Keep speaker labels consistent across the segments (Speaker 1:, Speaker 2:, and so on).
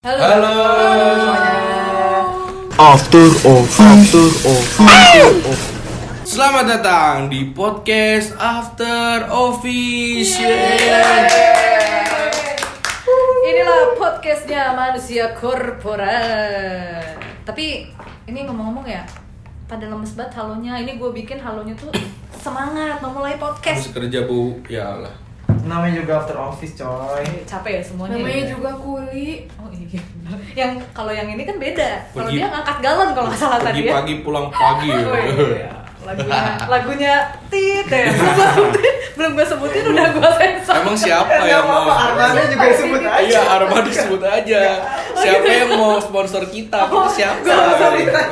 Speaker 1: Halo.
Speaker 2: Halo.
Speaker 1: semuanya.
Speaker 3: After off, after off, after off.
Speaker 2: Selamat datang di podcast After Office.
Speaker 1: Inilah podcastnya manusia korporat. Tapi ini ngomong-ngomong ya, pada lemes banget halonya. Ini gue bikin halonya tuh semangat memulai
Speaker 2: Harus
Speaker 1: podcast.
Speaker 2: kerja bu, ya Allah.
Speaker 4: Namanya juga after office coy
Speaker 1: Eh, Capek ya semuanya. ya?
Speaker 5: Namanya juga kuli.
Speaker 1: Oh iya. Yang kalau yang ini kan beda. Kalau
Speaker 2: Pergi-
Speaker 1: dia ngangkat galon kalau nggak salah
Speaker 2: Pergi
Speaker 1: tadi ya.
Speaker 2: pagi pulang pagi.
Speaker 1: Oh, iya. Lagunya, lagunya tit ya. Belum gua sebutin- Belum gue sebutin udah gue sensor.
Speaker 2: Emang siapa
Speaker 4: Eh,
Speaker 2: yang
Speaker 4: nggak apa-apa,
Speaker 2: mau?
Speaker 4: Armada juga sebut aja
Speaker 2: Iya, Arma disebut aja. Siapa yang mau sponsor kita?
Speaker 1: Oh,
Speaker 2: Kita siapa? Iya.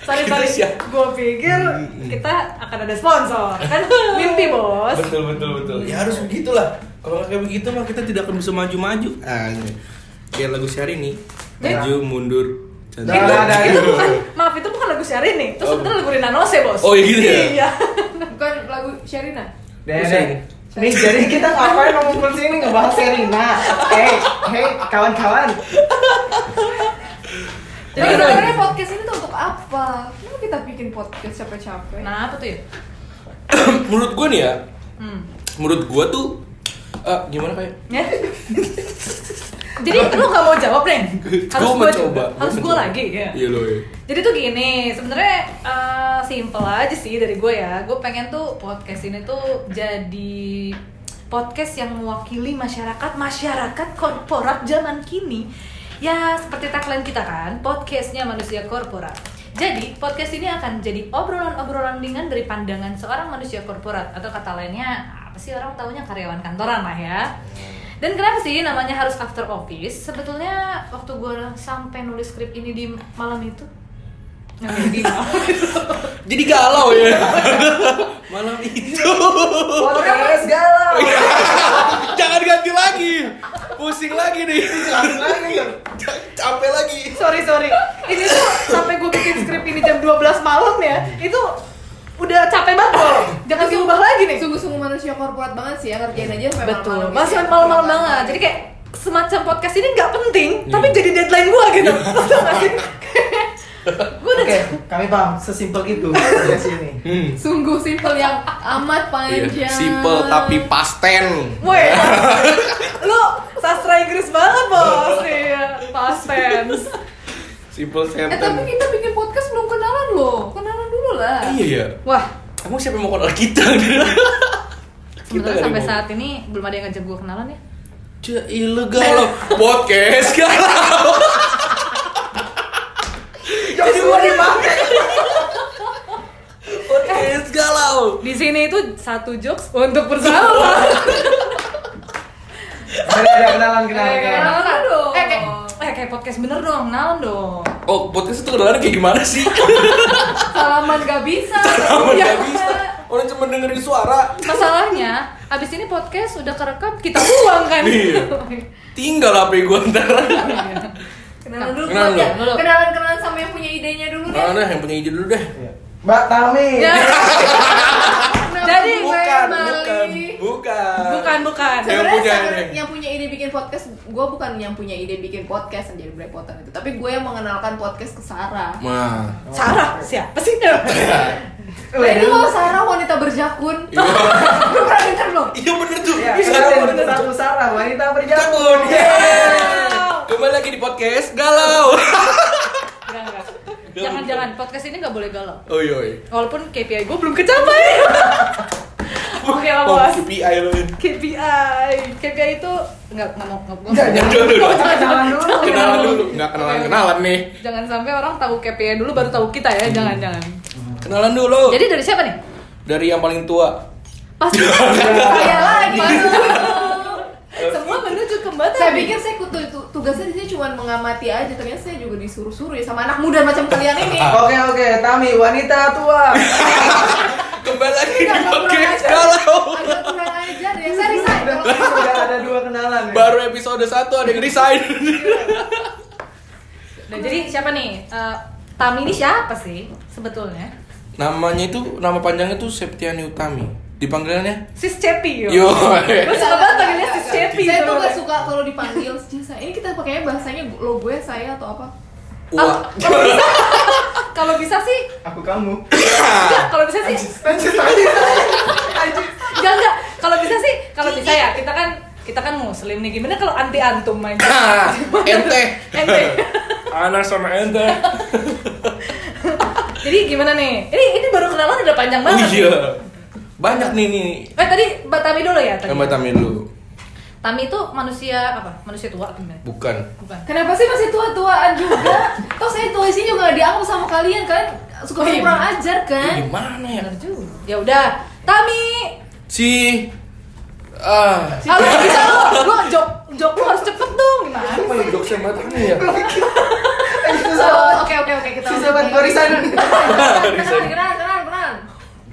Speaker 1: Sorry,
Speaker 2: Kita
Speaker 1: sorry.
Speaker 2: siap.
Speaker 1: Gue pikir
Speaker 2: Iya,
Speaker 1: kita akan ada sponsor. Kan mimpi, Bos.
Speaker 2: Betul betul betul. Ya harus begitulah. Kalau kayak begitu mah kita tidak akan bisa maju-maju. Ah, ini. kayak lagu sehari nih.
Speaker 1: Iya.
Speaker 2: Maju mundur.
Speaker 1: Itu,
Speaker 2: cantik.
Speaker 4: Dah, dah, dah.
Speaker 1: Nah, itu kan. bukan, maaf itu bukan lagu Syahrini. Itu sebenarnya lagu Rina Nose, Bos.
Speaker 2: Oh, iya gitu ya?
Speaker 1: Iya.
Speaker 5: Bukan lagu Sherina.
Speaker 4: Dede Nih jadi kita ngapain ngumpul sini ngebahas Serena Hei, hei kawan-kawan
Speaker 5: Jadi
Speaker 2: Nah,
Speaker 5: sebenarnya podcast ini tuh untuk apa? Kenapa kita bikin podcast capek-capek?
Speaker 1: Nah, apa tuh ya?
Speaker 2: Menurut gue nih ya,
Speaker 1: Hmm.
Speaker 2: menurut gue tuh eh, gimana kayak
Speaker 1: Ya. Jadi lu gak mau jawab, Ren? Harus gue
Speaker 2: Gua mencoba, gua
Speaker 1: Harus gue
Speaker 2: mencoba.
Speaker 1: lagi, ya.
Speaker 2: Iya loh. iya.
Speaker 1: Jadi tuh gini, sebenarnya eh, simple aja sih dari gue ya. Gue pengen tuh podcast ini tuh jadi podcast yang mewakili masyarakat masyarakat korporat zaman kini. Ya seperti tagline kita kan, podcastnya manusia korporat. Jadi podcast ini akan jadi obrolan-obrolan ringan dari pandangan seorang manusia korporat atau kata lainnya apa sih orang taunya karyawan kantoran lah ya. Dan kenapa sih namanya harus after office? Sebetulnya waktu gue sampai nulis skrip ini di malam itu Nggak jadi.
Speaker 2: Jadi galau ya. Malam itu.
Speaker 4: Podcast galau
Speaker 2: Jangan ganti lagi. Pusing lagi nih.
Speaker 4: Langsung lagi
Speaker 2: C- Capek lagi.
Speaker 1: sorry sorry Ini tuh sampai gue bikin skrip ini jam 12 malam ya Itu udah capek banget loh Jangan
Speaker 5: Itu
Speaker 1: diubah lagi nih
Speaker 5: Sungguh-sungguh manusia korporat banget sih ya ngerjain aja sampai
Speaker 1: Betul,
Speaker 5: malam-malam.
Speaker 1: masih
Speaker 5: gitu ya.
Speaker 1: malam-malam banget Jadi kayak semacam podcast ini nggak penting
Speaker 5: Iya.
Speaker 1: Tapi jadi deadline gue gitu Tau gak sih? Gue udah
Speaker 4: Oke, kami paham, sesimpel itu podcast ini
Speaker 2: Hmm.
Speaker 5: Sungguh simpel yang
Speaker 2: Iya,
Speaker 5: amat panjang. Eh,
Speaker 2: simple tapi pasten.
Speaker 1: Woi, lu sastra Inggris banget bos, iya, past tense.
Speaker 2: Simple
Speaker 5: Eh tapi
Speaker 2: sentence.
Speaker 5: kita bikin podcast belum kenalan loh. Kenalan dulu lah.
Speaker 2: Iya ya.
Speaker 1: Wah,
Speaker 2: Emang siapa yang mau kenal kita?
Speaker 1: Sebenarnya
Speaker 2: Kita
Speaker 1: sampai
Speaker 2: dari
Speaker 1: saat ini belum ada yang ngajak gue kenalan ya.
Speaker 2: Cek ilegal loh. iya, Podcast galau.
Speaker 4: Jadi mau dimakai
Speaker 2: Podcast galau.
Speaker 1: Di sini itu satu jokes untuk bersama.
Speaker 4: Ada ada kenalan, kenalan, kenalan
Speaker 5: kenalan dong.
Speaker 1: Eh kayak, eh, kayak podcast bener dong, kenalan dong.
Speaker 2: Oh, podcast itu kenalan kayak gimana sih?
Speaker 5: Salaman gak bisa.
Speaker 2: Aman
Speaker 5: Iya.
Speaker 2: gak bisa. Orang cuma dengerin suara.
Speaker 1: Masalahnya, abis ini podcast udah kerekam, kita buang kan.
Speaker 2: Iya. Tinggal HP gua ntar.
Speaker 1: Iya.
Speaker 5: Kenalan dulu.
Speaker 2: Kenalan
Speaker 5: Kenalan
Speaker 1: dulu.
Speaker 5: Kenalan-kenalan sama yang punya idenya dulu deh.
Speaker 2: Mana yang punya ide dulu deh.
Speaker 4: Iya. Mbak Tami
Speaker 1: Ya,
Speaker 5: Kenapa
Speaker 1: Jadi,
Speaker 5: gue
Speaker 2: Bukan,
Speaker 5: malah
Speaker 2: bukan,
Speaker 5: ini?
Speaker 2: bukan.
Speaker 1: bukan bukan.
Speaker 2: Saya
Speaker 5: Sebenarnya
Speaker 2: punya
Speaker 5: sangat-
Speaker 2: ide.
Speaker 5: yang punya ide bikin podcast gue bukan yang punya ide bikin podcast yang jadi belepotan itu tapi gue yang mengenalkan podcast ke Sarah
Speaker 2: Mah.
Speaker 1: Sarah siapa sih?
Speaker 5: nah ini loh Sarah wanita berjakun
Speaker 2: Iya.
Speaker 5: lu pernah denger belum
Speaker 2: Iya bener tuh.
Speaker 4: Ya,
Speaker 2: Sekarang
Speaker 4: kenalan
Speaker 2: bener
Speaker 4: satu Iya. Sarah, wanita berjalan
Speaker 2: Takut. Kembali lagi di podcast galau.
Speaker 1: Enggak, enggak. Jangan-jangan podcast ini nggak boleh galau.
Speaker 2: Oi oi.
Speaker 1: Walaupun KPI gue belum kecapai. Oke, lah, Bos.
Speaker 2: KPI lo.
Speaker 1: KPI. KPI itu nggak nggak mau nggak-
Speaker 4: Jangan,
Speaker 1: nggak-
Speaker 2: Jangan dulu.
Speaker 4: Kenalan dulu
Speaker 2: Kenalan dulu. Enggak kenalan-kenalan nih.
Speaker 1: Jangan sampai orang tahu KPI dulu baru tahu kita ya,
Speaker 2: Hmm.
Speaker 1: jangan-jangan.
Speaker 2: Kenalan dulu.
Speaker 1: Jadi dari siapa nih?
Speaker 2: Dari yang paling tua.
Speaker 1: Pasti Iya.
Speaker 5: saya lagi
Speaker 1: semua menuju ke Mbak
Speaker 5: saya pikir saya kutu, tu- tugasnya di sini cuma mengamati aja ternyata saya juga disuruh-suruh ya sama anak muda macam kalian ini
Speaker 4: Oke, oke, Tami, wanita tua
Speaker 2: Kembali lagi di
Speaker 5: Enggak, enggak
Speaker 2: podcast
Speaker 5: kurang
Speaker 2: galau.
Speaker 5: agak kurang ajar ya saya
Speaker 4: Udah,
Speaker 5: resign kalau
Speaker 4: udah ada dua kenalan ya.
Speaker 2: Baru episode 1 ada yang resign.
Speaker 1: Nah, jadi siapa nih? Eh, Tami ini siapa sih sebetulnya?
Speaker 2: Namanya itu nama panjangnya tuh Septiani Utami. dipanggilannya
Speaker 1: Sis Cepi yo.
Speaker 2: yo
Speaker 1: Gue suka banget panggilnya Sis Cepi.
Speaker 5: Saya tuh
Speaker 1: tau
Speaker 5: gak
Speaker 1: gak?
Speaker 5: suka kalau dipanggil jasa. Ini kita pakainya bahasanya lo gue saya atau apa?
Speaker 1: Ah,
Speaker 2: wah
Speaker 1: Kalau bisa, kalau bisa sih,
Speaker 4: Aku kamu.
Speaker 2: Ah.
Speaker 1: enggak, kalau bisa sih,
Speaker 4: Lanjut lanjut. Lanjut.
Speaker 1: enggak enggak. Kalau bisa sih, kalau bisa ya kita kan kita kan muslim nih gimana kalau anti antum aja
Speaker 2: Ah, ente
Speaker 1: ente
Speaker 2: anak sama ente
Speaker 1: jadi gimana nih ini ini baru kenalan udah panjang
Speaker 2: oh
Speaker 1: banget
Speaker 2: iya banyak nih nih
Speaker 1: eh tadi mbak Tami dulu ya tadi
Speaker 2: yang batamin dulu
Speaker 1: Tami itu manusia apa manusia tua atau gimana
Speaker 2: bukan
Speaker 1: bukan
Speaker 5: Kenapa sih masih tua-tuaan juga? Toh saya tua sih juga gak dianggap sama kalian kan? Suka
Speaker 1: Oh, iya.
Speaker 5: kurang ajar kan?
Speaker 2: Ih, gimana ya
Speaker 1: benar juga ya udah Tami
Speaker 2: si ah
Speaker 1: Ah, lu nggak bisa lu, lu jok jok lu harus cepet dong gimana?
Speaker 2: Apa yang jokes yang batang ya?
Speaker 5: So, Oke oke oke kita ya.
Speaker 4: Susah banget barisan.
Speaker 5: Kenalan kenalan kenalan kenalan.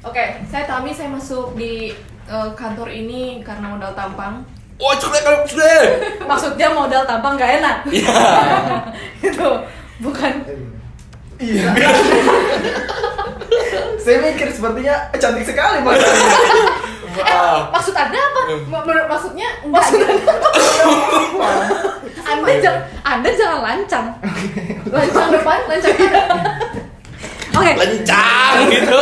Speaker 5: Oke, saya Tami, saya masuk di eh, kantor ini karena modal tampang.
Speaker 2: Wah, Oh, coklat kalau coklat.
Speaker 1: Maksudnya modal tampang gak enak.
Speaker 2: Iya.
Speaker 1: itu bukan
Speaker 4: Iya. Saya mikir sepertinya cantik sekali mas.
Speaker 2: Wah.
Speaker 1: Eh, maksud anda apa?
Speaker 5: Ma- menurut- maksudnya enggak
Speaker 1: Maksud
Speaker 5: gitu.
Speaker 1: anda, anda jangan anda jangan lancang.
Speaker 5: lancang depan, lancang kanan.
Speaker 1: Oke,
Speaker 2: Lencang gitu.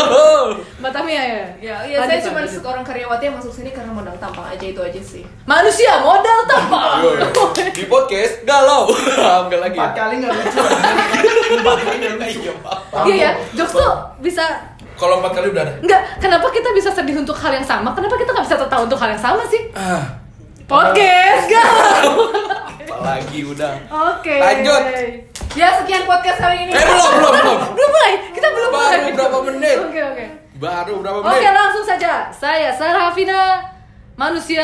Speaker 1: Mbak Tami ya. ya.
Speaker 5: Ya, iya
Speaker 1: Lanjut,
Speaker 5: saya
Speaker 1: Mbak,
Speaker 5: cuma
Speaker 1: lanjut.
Speaker 5: seorang karyawati yang masuk sini karena modal tampang aja itu aja sih.
Speaker 1: Manusia modal tampang.
Speaker 2: Yo, yo. Di podcast galau. Enggak lagi. ya?
Speaker 4: Empat kali nggak lucu.
Speaker 2: Empat kali udah lucu.
Speaker 1: Iya ya, jokes tuh bisa
Speaker 2: Kalau empat kali udah ada.
Speaker 1: Enggak, kenapa kita bisa sedih untuk hal yang sama? Kenapa kita nggak bisa tertawa untuk hal yang sama sih?
Speaker 2: Ah,
Speaker 1: Podcast, gak?
Speaker 2: apalagi udah.
Speaker 1: Oke.
Speaker 2: Lanjut.
Speaker 5: Ya, sekian podcast kali ini.
Speaker 2: Eh, belum, belum, belum.
Speaker 1: Belum mulai, kita belum mulai.
Speaker 2: Baru berapa menit?
Speaker 1: Oke, oke.
Speaker 2: Baru berapa
Speaker 1: Oke
Speaker 2: menit?
Speaker 1: langsung saja saya Sarah Hafina manusia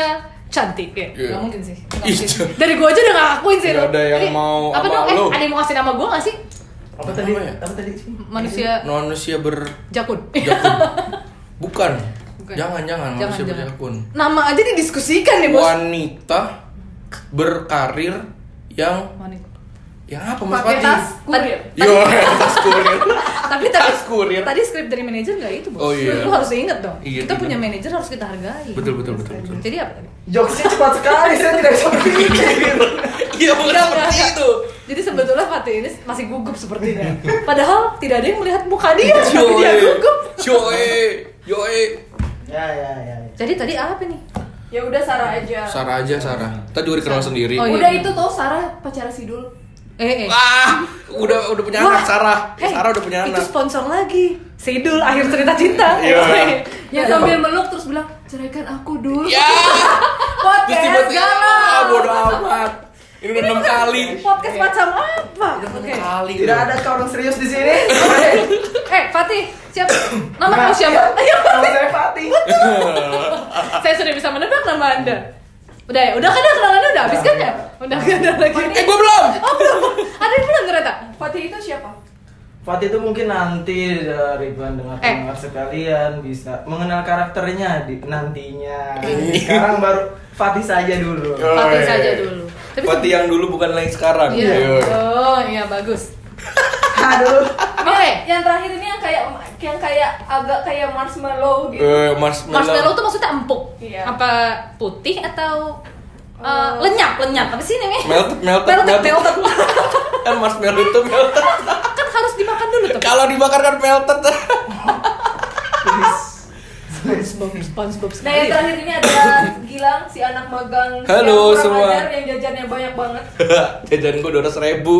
Speaker 1: cantik ya
Speaker 2: Iya.
Speaker 1: nggak mungkin sih nggak
Speaker 2: Ih,
Speaker 1: mungkin.
Speaker 2: Cak.
Speaker 1: dari gue aja udah gak ngakuin sih
Speaker 2: Nggak
Speaker 1: lu.
Speaker 2: ada yang
Speaker 1: Eh,
Speaker 2: mau
Speaker 1: apa
Speaker 2: sama
Speaker 1: dong eh
Speaker 2: lu.
Speaker 1: ada yang mau ngasih nama gue gak sih
Speaker 4: Apa tadi?
Speaker 2: Apa ya?
Speaker 4: Apa tadi?
Speaker 1: manusia
Speaker 2: Manusia ber
Speaker 1: jakun
Speaker 2: jakun. Bukan.
Speaker 1: Bukan.
Speaker 2: Jangan, jangan manusia berjakun.
Speaker 1: nama aja didiskusikan nih bos
Speaker 2: Wanita berkarir yang
Speaker 1: Wanita.
Speaker 2: yang apa Mas
Speaker 5: Pakai
Speaker 2: Pati?
Speaker 5: tas kurir.
Speaker 2: Yo, tas kurir.
Speaker 1: tapi tadi
Speaker 2: Tas kurir.
Speaker 1: tadi skrip dari manajer gak itu bos
Speaker 2: Oh, iya.
Speaker 1: lu harus inget dong
Speaker 2: Iya,
Speaker 1: kita
Speaker 2: bener.
Speaker 1: punya manajer harus kita hargai
Speaker 2: Betul, betul, betul, betul.
Speaker 1: jadi apa tadi
Speaker 4: Jokesnya cepat sekali. Saya tidak bisa berpikir.
Speaker 2: Iya, bukan
Speaker 1: Enggak, enggak,
Speaker 2: seperti itu.
Speaker 1: enggak. Jadi sebetulnya Fatih ini masih gugup sepertinya. Padahal tidak ada yang melihat muka dia, tapi Iya, dia
Speaker 2: Joe,
Speaker 1: gugup.
Speaker 2: Joe, Joe.
Speaker 4: Ya ya ya. ya.
Speaker 1: Jadi tadi apa nih?
Speaker 5: Ya udah Sarah aja.
Speaker 2: Sarah aja Sarah. Tadi juga dikenal sendiri.
Speaker 1: Oh, iya.
Speaker 5: Udah itu tuh Sarah pacar Sidul.
Speaker 1: Eh, eh.
Speaker 2: Wah, udah udah Ah, punya
Speaker 1: Wah.
Speaker 2: anak Sarah.
Speaker 1: Hey,
Speaker 2: Sarah udah punya
Speaker 1: Itu
Speaker 2: anak.
Speaker 1: sponsor lagi. Sidul akhir cerita cinta.
Speaker 2: Iya.
Speaker 5: Ya sambil meluk terus bilang, "Ceraikan aku dulu."
Speaker 2: Ya.
Speaker 1: Iya,
Speaker 2: Terus
Speaker 5: Podcast
Speaker 2: tiba-tiba ah, bodo
Speaker 5: galau.
Speaker 2: amat. Ini udah enam kali. Iya.
Speaker 1: Podcast macam apa? Oke.
Speaker 2: Kali.
Speaker 4: Tidak ada orang serius di sini.
Speaker 1: Eh, Fatih, siap. Nama
Speaker 4: Nah,
Speaker 1: kamu siapa? Ayo,
Speaker 4: iya. Nama
Speaker 1: Fatih.
Speaker 4: saya Fatih.
Speaker 1: Saya sudah bisa menebak nama Anda. Udah ya, udah kan ya kenalannya udah habis kan ya? Udah gak ada lagi.
Speaker 2: Eh, gua belum.
Speaker 1: Oh, belum. Ada yang belum ternyata.
Speaker 5: Fatih itu siapa?
Speaker 4: Fatih itu mungkin nanti eh, Ridwan dengan
Speaker 1: Eh.
Speaker 4: pendengar sekalian bisa mengenal karakternya di, nantinya. Sekarang baru Fatih saja dulu.
Speaker 1: Fatih
Speaker 2: Yoi.
Speaker 1: saja dulu. Tapi
Speaker 2: Fatih yang dulu bukan yang sekarang.
Speaker 1: Iya.
Speaker 2: Yoi.
Speaker 1: Oh, iya bagus. eh,
Speaker 4: Aduh.
Speaker 1: Oke.
Speaker 5: Yang terakhir ini yang kayak yang kayak agak kayak marshmallow gitu.
Speaker 2: Eh, Mars
Speaker 1: Marshmallow tuh maksudnya empuk.
Speaker 5: Iya.
Speaker 1: Apa putih atau eh,
Speaker 5: Oh.
Speaker 1: lenyap, lenyap. Apa sih namanya?
Speaker 2: Melted, melted,
Speaker 1: Melted,
Speaker 2: melted.
Speaker 1: melted.
Speaker 2: Kan marshmallow itu melted.
Speaker 1: kan harus dimakan dulu tuh.
Speaker 2: Kalau dibakar kan melted.
Speaker 1: SpongeBob, SpongeBob
Speaker 5: Nah
Speaker 1: sekali.
Speaker 5: yang terakhir ini adalah Gilang si anak magang
Speaker 2: Halo
Speaker 5: yang kurang
Speaker 2: semua.
Speaker 5: ajar, yang jajannya banyak banget.
Speaker 2: Jajan gua 200 ribu.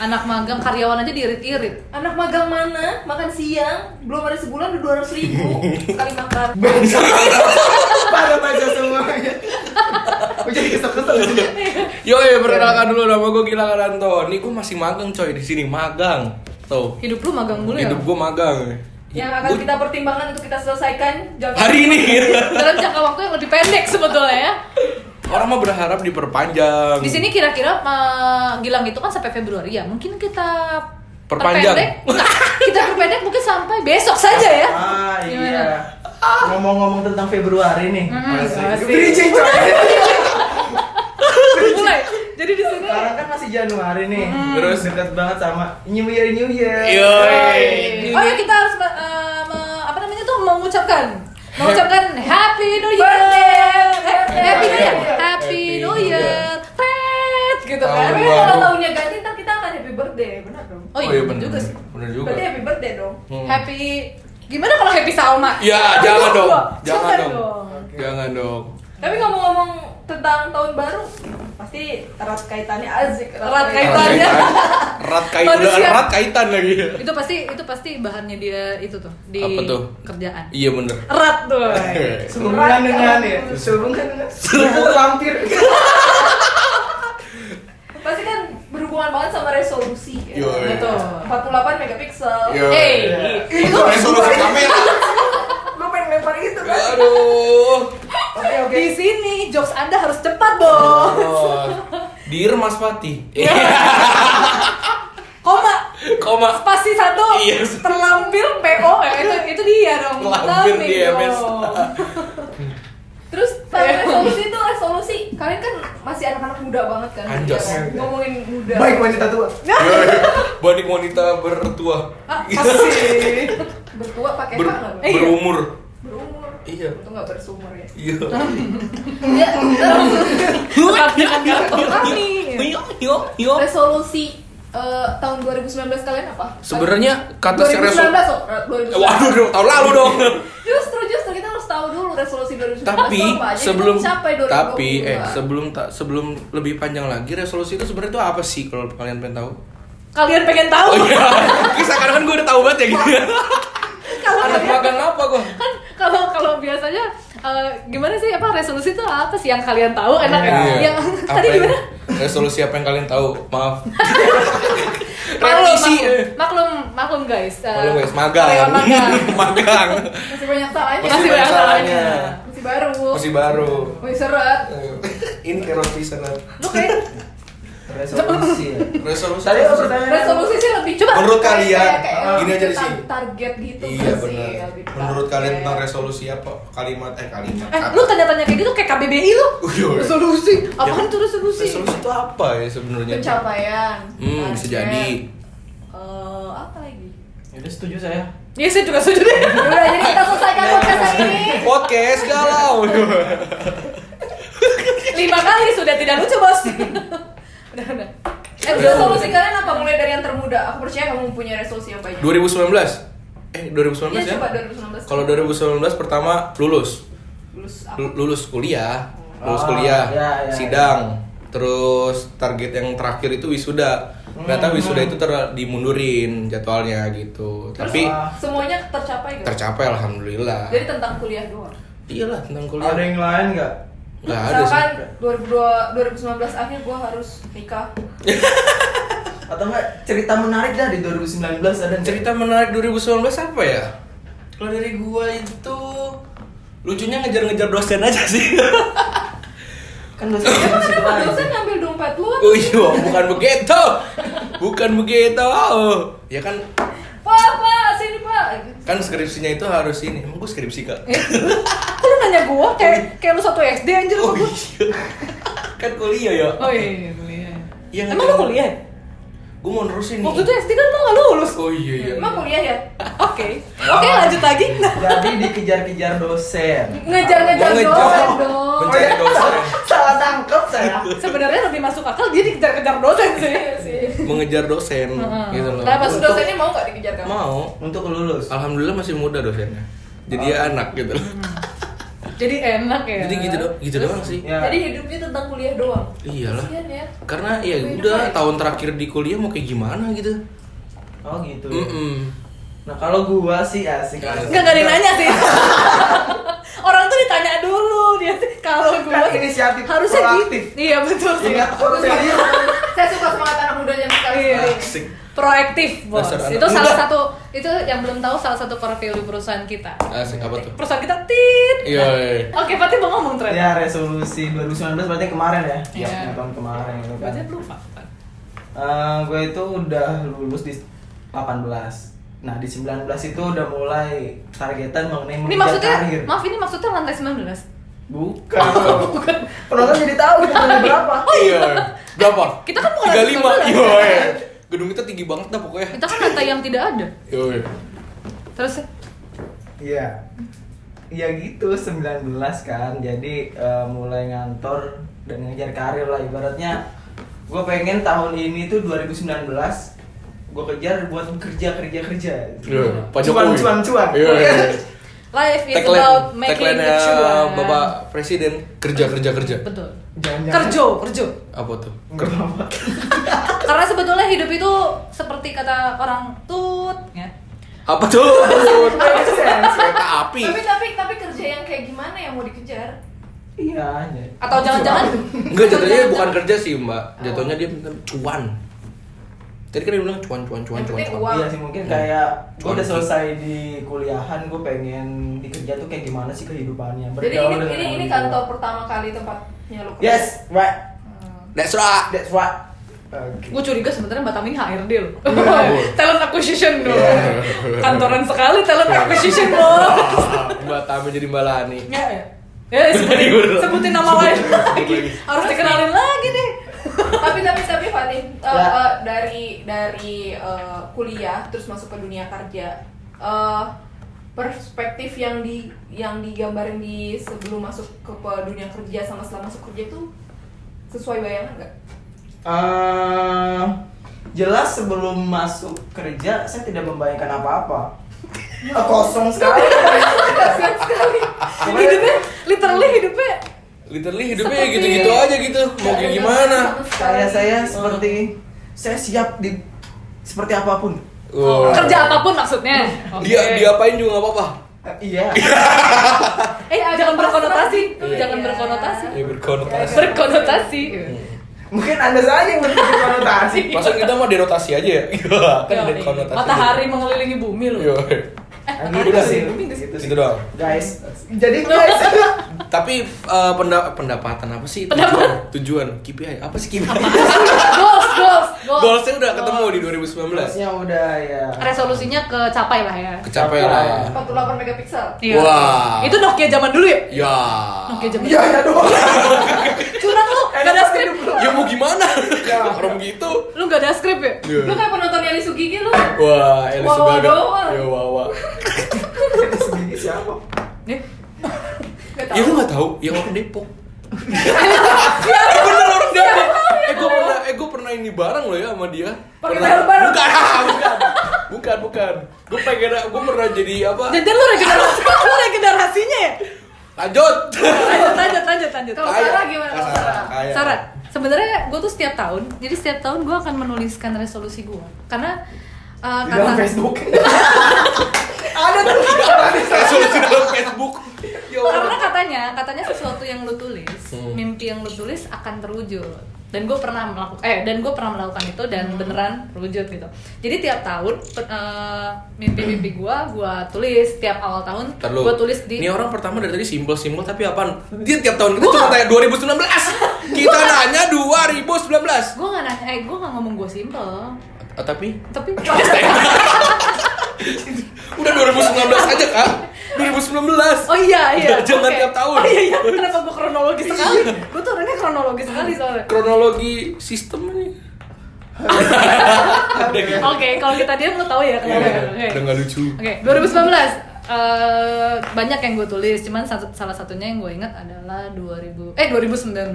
Speaker 1: Anak magang karyawan aja diirit-irit.
Speaker 5: Anak magang mana? Makan siang belum ada sebulan udah dua ratus ribu sekali makan.
Speaker 4: Pada baca semuanya. Gue jadi kesel-kesel.
Speaker 2: Yo, eh,
Speaker 1: Iya.
Speaker 2: perkenalkan dulu nama gue Gilang Aranto. Nih gue masih magang coy di sini magang. Tuh,
Speaker 1: Hidup lu magang mulu ya.
Speaker 2: hidup gue magang.
Speaker 5: Yang akan
Speaker 2: Gua-
Speaker 5: kita pertimbangkan untuk kita selesaikan gitu jam
Speaker 2: hari ini
Speaker 5: kan.
Speaker 1: Dalam jangka waktu yang lebih pendek sebetulnya ya.
Speaker 2: orang mah berharap diperpanjang.
Speaker 1: Di sini kira-kira eh, Gilang itu kan sampai Februari ya. Mungkin kita
Speaker 2: Perpanjang.
Speaker 1: perpendek. Enggak, kita perpendek mungkin sampai besok saja ya.
Speaker 4: Ah
Speaker 1: Gimana?
Speaker 4: iya. Ngomong-ngomong tentang Februari nih.
Speaker 1: Mm-mm,
Speaker 4: Asik.
Speaker 1: asik.
Speaker 4: Bridging, coy.
Speaker 1: Mulai. Jadi di sini
Speaker 4: Sekarang kan masih Januari nih.
Speaker 2: Terus?
Speaker 4: dekat banget sama New Year New Year.
Speaker 2: Yoi.
Speaker 1: Oh ya kita harus eh, me- apa namanya tuh mengucapkan mengucapkan Happy New Year, Eh, Happy New Year, Happy New Year, Tet, gitu kan.
Speaker 5: Tapi kalau tahunnya ganti ntar kita akan happy birthday, benar dong?
Speaker 1: Oh iya, bener juga sih. ya
Speaker 2: Bener juga.
Speaker 5: Berarti happy birthday dong.
Speaker 2: Hmm.
Speaker 1: Happy, gimana kalau Happy Salma?
Speaker 2: Ya, jangan dong. Jangan
Speaker 1: Jangan
Speaker 2: dong.
Speaker 1: dong.
Speaker 2: Jangan dong.
Speaker 5: Tapi ngomong-ngomong tentang tahun baru, pasti erat kaitannya azik.
Speaker 1: Erat
Speaker 2: Erat
Speaker 1: Kaitannya.
Speaker 2: kaitan. Erat kaitan, udah
Speaker 1: ya. Manusia.
Speaker 2: erat kaitan lagi.
Speaker 1: Itu pasti, itu pasti bahannya dia itu tuh di
Speaker 2: Apa tuh?
Speaker 1: kerjaan.
Speaker 2: Iya bener.
Speaker 1: Erat tuh.
Speaker 4: Sehubungan dengan ya, sehubungan dengan Sehubungan lampir
Speaker 5: Pasti kan berhubungan banget sama resolusi. Ya.
Speaker 2: Yoi.
Speaker 1: Betul.
Speaker 5: 48 megapiksel.
Speaker 1: Hey,
Speaker 2: Itu resolusi kamera.
Speaker 5: Lu pengen lempar itu kan?
Speaker 2: Aduh.
Speaker 4: Oke oke
Speaker 1: di sini jokes Anda harus cepat, Bos.
Speaker 2: Oh. Dir Mas Pati.
Speaker 1: Koma
Speaker 2: Koma.
Speaker 1: spasi satu
Speaker 2: Iya.
Speaker 1: terlampir PO ya itu itu dia dong
Speaker 2: Terlampir
Speaker 1: Terlampir
Speaker 2: di MS.
Speaker 1: dong.
Speaker 5: Terus tahun
Speaker 1: Iya.
Speaker 5: resolusi itu resolusi. Kalian kan masih anak-anak muda banget kan?
Speaker 2: Anjos.
Speaker 5: Iya kan? Ngomongin muda.
Speaker 4: Baik wanita tua
Speaker 2: Banik wanita bertua.
Speaker 1: Ah, asik.
Speaker 5: Bertua pakai
Speaker 2: Ber-
Speaker 5: hak nggak? Bang?
Speaker 1: Eh, iya.
Speaker 2: berumur.
Speaker 5: Berumur.
Speaker 2: Iya.
Speaker 5: Untung nggak bersumur ya.
Speaker 2: Iya.
Speaker 5: Iya.
Speaker 1: Tetap dengan dapur kami.
Speaker 2: Yo yo yo.
Speaker 5: resolusi eh, tahun 2019 kalian apa?
Speaker 2: Sebenarnya kata si
Speaker 5: 2019
Speaker 2: resol-
Speaker 5: loh. eh, 2019.
Speaker 2: Waduh, dong, tahun lalu dong.
Speaker 5: Justru justru kita harus tahu dulu resolusi 2019
Speaker 2: tapi
Speaker 5: itu apa aja
Speaker 2: sebelum
Speaker 5: kita mencapai 2022.
Speaker 2: tapi eh sebelum tak sebelum lebih panjang lagi resolusi itu sebenarnya itu apa sih kalau kalian pengen tahu?
Speaker 1: Kalian pengen tahu?
Speaker 2: Oh iya. Kisah karena kan gue udah tahu banget ya gitu.
Speaker 1: Kalau
Speaker 2: Anak magang apa gue?
Speaker 1: kan kalau kalau biasanya eh, gimana sih apa resolusi itu apa sih yang kalian tahu enak
Speaker 2: Iya.
Speaker 1: ya? Yang tadi gimana?
Speaker 2: Resolusi apa yang kalian tahu? Maaf.
Speaker 1: Maklum,
Speaker 2: Revisi.
Speaker 1: maklum, maklum, maklum guys. Eh,
Speaker 2: Malu guys, magang.
Speaker 1: karyawan magang.
Speaker 2: magang.
Speaker 5: masih banyak salahnya.
Speaker 1: Masih banyak salahnya.
Speaker 5: Masih baru.
Speaker 2: Masih baru.
Speaker 5: Masih eh. seret.
Speaker 2: Ini kayak roti sana.
Speaker 1: Lu kayak
Speaker 4: Resolusi ya
Speaker 2: Resolusi.
Speaker 4: Tadi apa pertanyaan?
Speaker 5: Resolusi sih lebih
Speaker 1: Coba.
Speaker 2: Menurut
Speaker 5: kayak-
Speaker 2: kalian,
Speaker 5: kayak- kayak
Speaker 2: ah, gini aja di
Speaker 5: tar-
Speaker 2: sini.
Speaker 5: Target gitu
Speaker 2: Iya
Speaker 5: kan
Speaker 2: benar.
Speaker 5: sih, lebih target.
Speaker 2: Menurut kalian tentang resolusi apa? Kalimat eh kalimat.
Speaker 1: eh lu tanya-tanya kayak gitu kayak KBBI lu.
Speaker 2: Uyo.
Speaker 1: Resolusi. Apaan
Speaker 2: Ya,
Speaker 1: tuh resolusi?
Speaker 2: Resolusi itu apa ya sebenarnya?
Speaker 5: pencapaian.
Speaker 2: Hmm, bisa
Speaker 5: target.
Speaker 2: jadi.
Speaker 5: Eh, apa lagi?
Speaker 4: Yaudah setuju saya
Speaker 1: Iya, saya juga setuju deh.
Speaker 5: Udah jadi kita selesaikan
Speaker 2: Iya,
Speaker 5: podcast hari ini.
Speaker 2: Podcast galau.
Speaker 1: Lima kali sudah tidak lucu, Bos. udah, udah.
Speaker 5: Eh,
Speaker 2: Iya.
Speaker 5: resolusi kalian apa mulai dari yang termuda? Aku percaya kamu punya resolusi yang banyak.
Speaker 2: 2019. Eh, 2019
Speaker 5: Iya,
Speaker 2: ya?
Speaker 5: coba 2019.
Speaker 2: Kalau 2019 pertama lulus.
Speaker 5: Lulus apa?
Speaker 2: Lu- lulus kuliah, lulus
Speaker 4: Ah,
Speaker 2: kuliah,
Speaker 4: ya, ya,
Speaker 2: sidang, terus target yang terakhir itu wisuda. Ternyata
Speaker 4: Hmm.
Speaker 2: wisuda itu ter- dimundurin jadwalnya gitu.
Speaker 5: Terus
Speaker 2: Tapi
Speaker 4: ah.
Speaker 5: semuanya tercapai gitu.
Speaker 2: tercapai alhamdulillah.
Speaker 5: Jadi tentang kuliah doang.
Speaker 2: Iyalah tentang kuliah.
Speaker 4: Ada yang lain nggak?
Speaker 2: Nggak ada sih.
Speaker 5: Misalkan 2002, 2019 akhir gua harus nikah.
Speaker 4: Atau enggak cerita menarik dah di 2019 ada nggak?
Speaker 2: Cerita menarik 2019 apa ya? Kalau dari gua itu lucunya ngejar-ngejar dosen aja sih.
Speaker 4: Kan dosen masih
Speaker 5: Kenapa
Speaker 4: lain.
Speaker 5: dosen ngambil dompet lu?
Speaker 2: Iya, oh iya, bukan begitu. Bukan begitu. Ya kan
Speaker 5: Pak, pak, sini pak.
Speaker 2: kan skripsinya itu harus ini. Emang gua skripsi, Kak?
Speaker 1: Eh, kok lu nanya gua kayak kayak lu satu SD anjir
Speaker 2: iya. Oh
Speaker 1: sama gua.
Speaker 2: iya. kan kuliah ya.
Speaker 1: Oh iya, kuliah.
Speaker 2: Iya,
Speaker 1: Emang
Speaker 2: ngerti.
Speaker 1: lu kuliah?
Speaker 2: Gua mau nerusin nih.
Speaker 1: Waktu itu SD kan lu nggak lulus.
Speaker 2: Oh iya iya.
Speaker 5: Emang kuliah ya?
Speaker 1: Oke. Oke, lanjut lagi. Nah,
Speaker 4: Jadi dikejar-kejar dosen
Speaker 5: Ngejar-ngejar
Speaker 2: Mau ngejar.
Speaker 5: dosen dong.
Speaker 2: Mencari dosen.
Speaker 4: Salah tangkep saya
Speaker 1: sebenarnya lebih masuk akal dia dikejar-kejar dosen sih.
Speaker 5: Iya sih.
Speaker 2: Mengejar dosen
Speaker 1: Heeh.
Speaker 2: gitu loh.
Speaker 1: Kenapa?
Speaker 5: Pas
Speaker 1: Untuk-
Speaker 5: dosennya mau nggak dikejar kamu?
Speaker 2: Mau.
Speaker 4: Untuk lulus
Speaker 2: Alhamdulillah masih muda dosennya.
Speaker 1: Oh.
Speaker 2: Jadi ya anak gitu loh.
Speaker 1: Jadi enak ya.
Speaker 2: Jadi gitu do- gitu doang sih.
Speaker 1: Iya.
Speaker 4: Ya.
Speaker 5: Jadi hidupnya tentang kuliah doang.
Speaker 2: Iyalah.
Speaker 5: Kasian ya.
Speaker 2: Karena ya
Speaker 1: Iya.
Speaker 5: Hidup
Speaker 2: udah
Speaker 5: baik.
Speaker 2: tahun terakhir di kuliah mau kayak gimana gitu.
Speaker 4: Oh gitu
Speaker 1: Iya.
Speaker 4: ya.
Speaker 2: Mm-mm.
Speaker 4: Nah kalau gua sih asik asik.
Speaker 1: Enggak ada yang nanya sih. Orang tuh ditanya dulu dia sih, kalau gua
Speaker 4: Kan inisiatif
Speaker 1: harusnya
Speaker 4: proaktif.
Speaker 1: gitu. Iya, betul sih.
Speaker 4: Ingat
Speaker 5: Bagus
Speaker 4: konten
Speaker 5: banget. Saya suka semangat anak muda yang sekali.
Speaker 1: Iya.
Speaker 2: Asik.
Speaker 1: proaktif bos
Speaker 2: Dasar anak
Speaker 1: itu salah
Speaker 2: muda.
Speaker 1: satu itu yang belum tahu salah satu core value perusahaan kita
Speaker 2: Asik apa tuh?
Speaker 1: perusahaan kita tit
Speaker 2: Iya. iya.
Speaker 1: oke Fatih mau ngomong tren
Speaker 4: Ya resolusi 2019 berarti kemarin ya?
Speaker 1: Iya.
Speaker 4: Yang Tahun kemarin gitu kan.
Speaker 1: berarti lupa
Speaker 4: Eh, gue itu udah lulus di 18. Nah di 19 itu udah mulai targetan mengenai
Speaker 1: ini
Speaker 4: mengejar
Speaker 1: maksudnya
Speaker 4: karir.
Speaker 1: maaf ini maksudnya lantai 19
Speaker 4: Bukan. Penonton jadi tahu itu udah
Speaker 1: Oh,
Speaker 4: berapa.
Speaker 2: Iya. Berapa?
Speaker 1: Kita kan bukan 19.
Speaker 2: 35. Iya. iya. Gedung kita tinggi banget dah pokoknya.
Speaker 1: kita kan lantai yang tidak ada
Speaker 2: Iya. iya.
Speaker 1: terus ya?
Speaker 4: Iya. ya gitu 19 kan jadi eh, mulai ngantor dan ngejar karir lah ibaratnya gue pengen tahun ini tuh 2019 gue kejar buat kerja kerja kerja
Speaker 2: Iya, Pak
Speaker 4: cuan
Speaker 2: Jokowi.
Speaker 4: cuan cuan
Speaker 2: Iya, iya, iya.
Speaker 1: Life is
Speaker 2: Tagline,
Speaker 1: about Gitu, making
Speaker 2: tagline
Speaker 1: the cuan.
Speaker 2: Bapak Presiden kerja kerja kerja.
Speaker 1: Betul.
Speaker 4: Jangan-jangan.
Speaker 1: Kerjo, kerjo.
Speaker 2: Apa tuh?
Speaker 4: Kenapa?
Speaker 1: Karena sebetulnya hidup itu seperti kata orang tut, ya.
Speaker 2: Apa tuh?
Speaker 4: Make sense.
Speaker 2: Kereta api.
Speaker 1: kan
Speaker 5: Tapi tapi tapi kerja yang kayak gimana yang mau dikejar?
Speaker 4: iya iya.
Speaker 1: Atau jangan-jangan
Speaker 2: Enggak
Speaker 1: atau
Speaker 2: jatuhnya
Speaker 1: jangan-jangan-
Speaker 2: bukan kerja sih
Speaker 1: Oh.
Speaker 2: mbak, jatuhnya dia minta cuan. Tadi kan dia bilang cuan cuan cuan
Speaker 5: Yang
Speaker 2: cuan.
Speaker 5: penting
Speaker 2: cuan.
Speaker 5: uang.
Speaker 4: Iya sih mungkin
Speaker 2: Hmm.
Speaker 4: kayak gue
Speaker 2: Cuan
Speaker 4: udah
Speaker 2: sih.
Speaker 4: selesai di kuliahan gue pengen di kerja tuh kayak gimana sih kehidupannya
Speaker 5: Jadi
Speaker 4: Bergaul
Speaker 5: ini
Speaker 4: dengan
Speaker 5: ini,
Speaker 4: orang
Speaker 5: ini
Speaker 4: tua.
Speaker 5: kantor pertama kali tempatnya lo kerja.
Speaker 4: yes right
Speaker 5: Hmm.
Speaker 2: That's right.
Speaker 4: that's right Oke.
Speaker 1: Gue curiga sebenarnya Mbak Tamin HRD loh Talent acquisition loh
Speaker 2: Iya.
Speaker 1: Kantoran sekali talent acquisition loh
Speaker 2: Mbak Tami jadi Mbak Lani.
Speaker 1: Ya ya Ya, sebutin, sebutin nama lain lagi Harus dikenalin lagi deh
Speaker 5: tapi tapi tapi Fatih eh,
Speaker 4: Ya.
Speaker 5: eh, dari dari eh, kuliah terus masuk ke dunia kerja eh, perspektif yang di yang digambarin di sebelum masuk ke pe- dunia kerja sama setelah masuk kerja itu sesuai bayangan nggak?
Speaker 4: Eh, jelas sebelum masuk kerja saya tidak membayangkan apa-apa Eh, kosong sekali
Speaker 5: Kasian sekali.
Speaker 4: gitu,
Speaker 1: Hidupnya, literally hidupnya
Speaker 2: Literally hidupnya ya
Speaker 1: Seperti-
Speaker 2: gitu-gitu aja gitu. Mau
Speaker 1: Iya.
Speaker 2: kayak gimana?
Speaker 5: Sama sekali.
Speaker 4: saya saya seperti saya siap di seperti apapun
Speaker 1: Oh,
Speaker 2: Wow.
Speaker 1: kerja apapun maksudnya Oke.
Speaker 2: Oh. Dia diapain juga nggak apa-apa.
Speaker 4: Eh, iya
Speaker 1: Eh
Speaker 5: Ya,
Speaker 1: jangan
Speaker 5: agak
Speaker 1: berkonotasi
Speaker 5: pasrah gitu
Speaker 1: Jangan
Speaker 5: ya.
Speaker 1: berkonotasi
Speaker 2: Ya berkonotasi.
Speaker 1: Berkonotasi
Speaker 4: mungkin anda saja yang berpikir konotasi
Speaker 2: Maksud kita mah derotasi aja ya. kan Iya.
Speaker 1: Yoi.
Speaker 2: derotasi.
Speaker 1: Iya. Matahari mengelilingi bumi loh
Speaker 2: Yo.
Speaker 1: Eh,
Speaker 4: Nah,
Speaker 1: matahari
Speaker 4: gitu sih,
Speaker 1: mengelilingi bumi nggak sih?
Speaker 4: gitu sih.
Speaker 2: Gitu doang.
Speaker 4: Guys, jadi guys,
Speaker 2: Tapi eh, penda- pendapatan apa sih?
Speaker 1: Pendapat.
Speaker 2: Tujuan, tujuan KPI. Apa sih KPI?
Speaker 1: Goals, goals, goals
Speaker 2: Goalsnya udah ketemu di
Speaker 4: harusnya udah ya.
Speaker 1: Resolusinya kecapai lah ya Iya.
Speaker 2: 2019. Kecapai lah ya.
Speaker 5: 48 megapiksel.
Speaker 2: Wah.
Speaker 1: Itu Nokia zaman dulu ya?
Speaker 2: Ya.
Speaker 1: Nokia zaman
Speaker 4: Iya, ya doang.
Speaker 1: Curang lu, gak ada skrip
Speaker 2: Ya mau gimana? Kalau begitu.
Speaker 1: Lu gak ada skrip ya?
Speaker 2: Iya.
Speaker 5: Lu kayak penonton gitu. Eli Sugigi lu.
Speaker 2: Wah, Eli
Speaker 5: Wawa
Speaker 2: Subaga.
Speaker 5: doang.
Speaker 2: Ya Wawa.
Speaker 4: Segini siapa?
Speaker 1: Nih
Speaker 5: Gak
Speaker 2: Ya lu
Speaker 5: tahu.
Speaker 2: nggak tahu, yang orang Depok. eh bener orang Depok. Eh gue pernah, eh gue pernah ini bareng loh ya sama dia.
Speaker 5: Pakai
Speaker 2: Pernah-
Speaker 5: helm bareng.
Speaker 2: Bukan, bukan, bukan, bukan. Gue pengen, gue pernah jadi apa?
Speaker 1: Jadi lu regenerasi, lu regenerasinya ya?
Speaker 2: Lanjut.
Speaker 1: Lanjut, lanjut, lanjut, lanjut
Speaker 5: Kalau Sarah gimana kalau Sarah?
Speaker 2: Kayak-
Speaker 1: Sarat, sebenarnya gue tuh setiap tahun, jadi setiap tahun gue akan menuliskan resolusi gue Karena uh,
Speaker 4: Di dalam
Speaker 1: kata
Speaker 4: Facebook. Ada tuh.
Speaker 2: Resolusi dalam Facebook. Ya
Speaker 1: karena
Speaker 2: Allah.
Speaker 1: katanya katanya sesuatu yang lu tulis
Speaker 2: Hmm.
Speaker 1: mimpi yang lu tulis akan terwujud dan gue pernah melakukan eh dan gue pernah melakukan itu dan beneran terwujud gitu jadi tiap tahun pe- eh, mimpi-mimpi gue gue tulis tiap awal tahun
Speaker 2: Ntar lu.
Speaker 1: gue tulis di
Speaker 2: Ini orang pertama dari tadi simpel-simpel tapi apaan? Dia tiap tahun kita cuma tanya 2019. Kita nanya 2019.
Speaker 1: gue nggak nanya eh gue nggak ngomong gue simple
Speaker 2: Eh, Tapi
Speaker 1: tapi
Speaker 2: Udah 2019 aja kak 2019
Speaker 1: oh iya iya
Speaker 2: Jangan
Speaker 1: oke.
Speaker 2: tiap tahun. Iya.
Speaker 1: oh iya iya kenapa gue kronologis sekali gue tuh orangnya kronologis sekali soalnya
Speaker 2: Kronologi sistem ini Iya.
Speaker 1: oke kalau kita diam lu tahu ya kenapa Oke.
Speaker 2: Udah gak lucu
Speaker 1: Oke, 2019 eh, banyak yang gue tulis, cuman satu- salah satunya yang gue ingat adalah 2000 eh 2019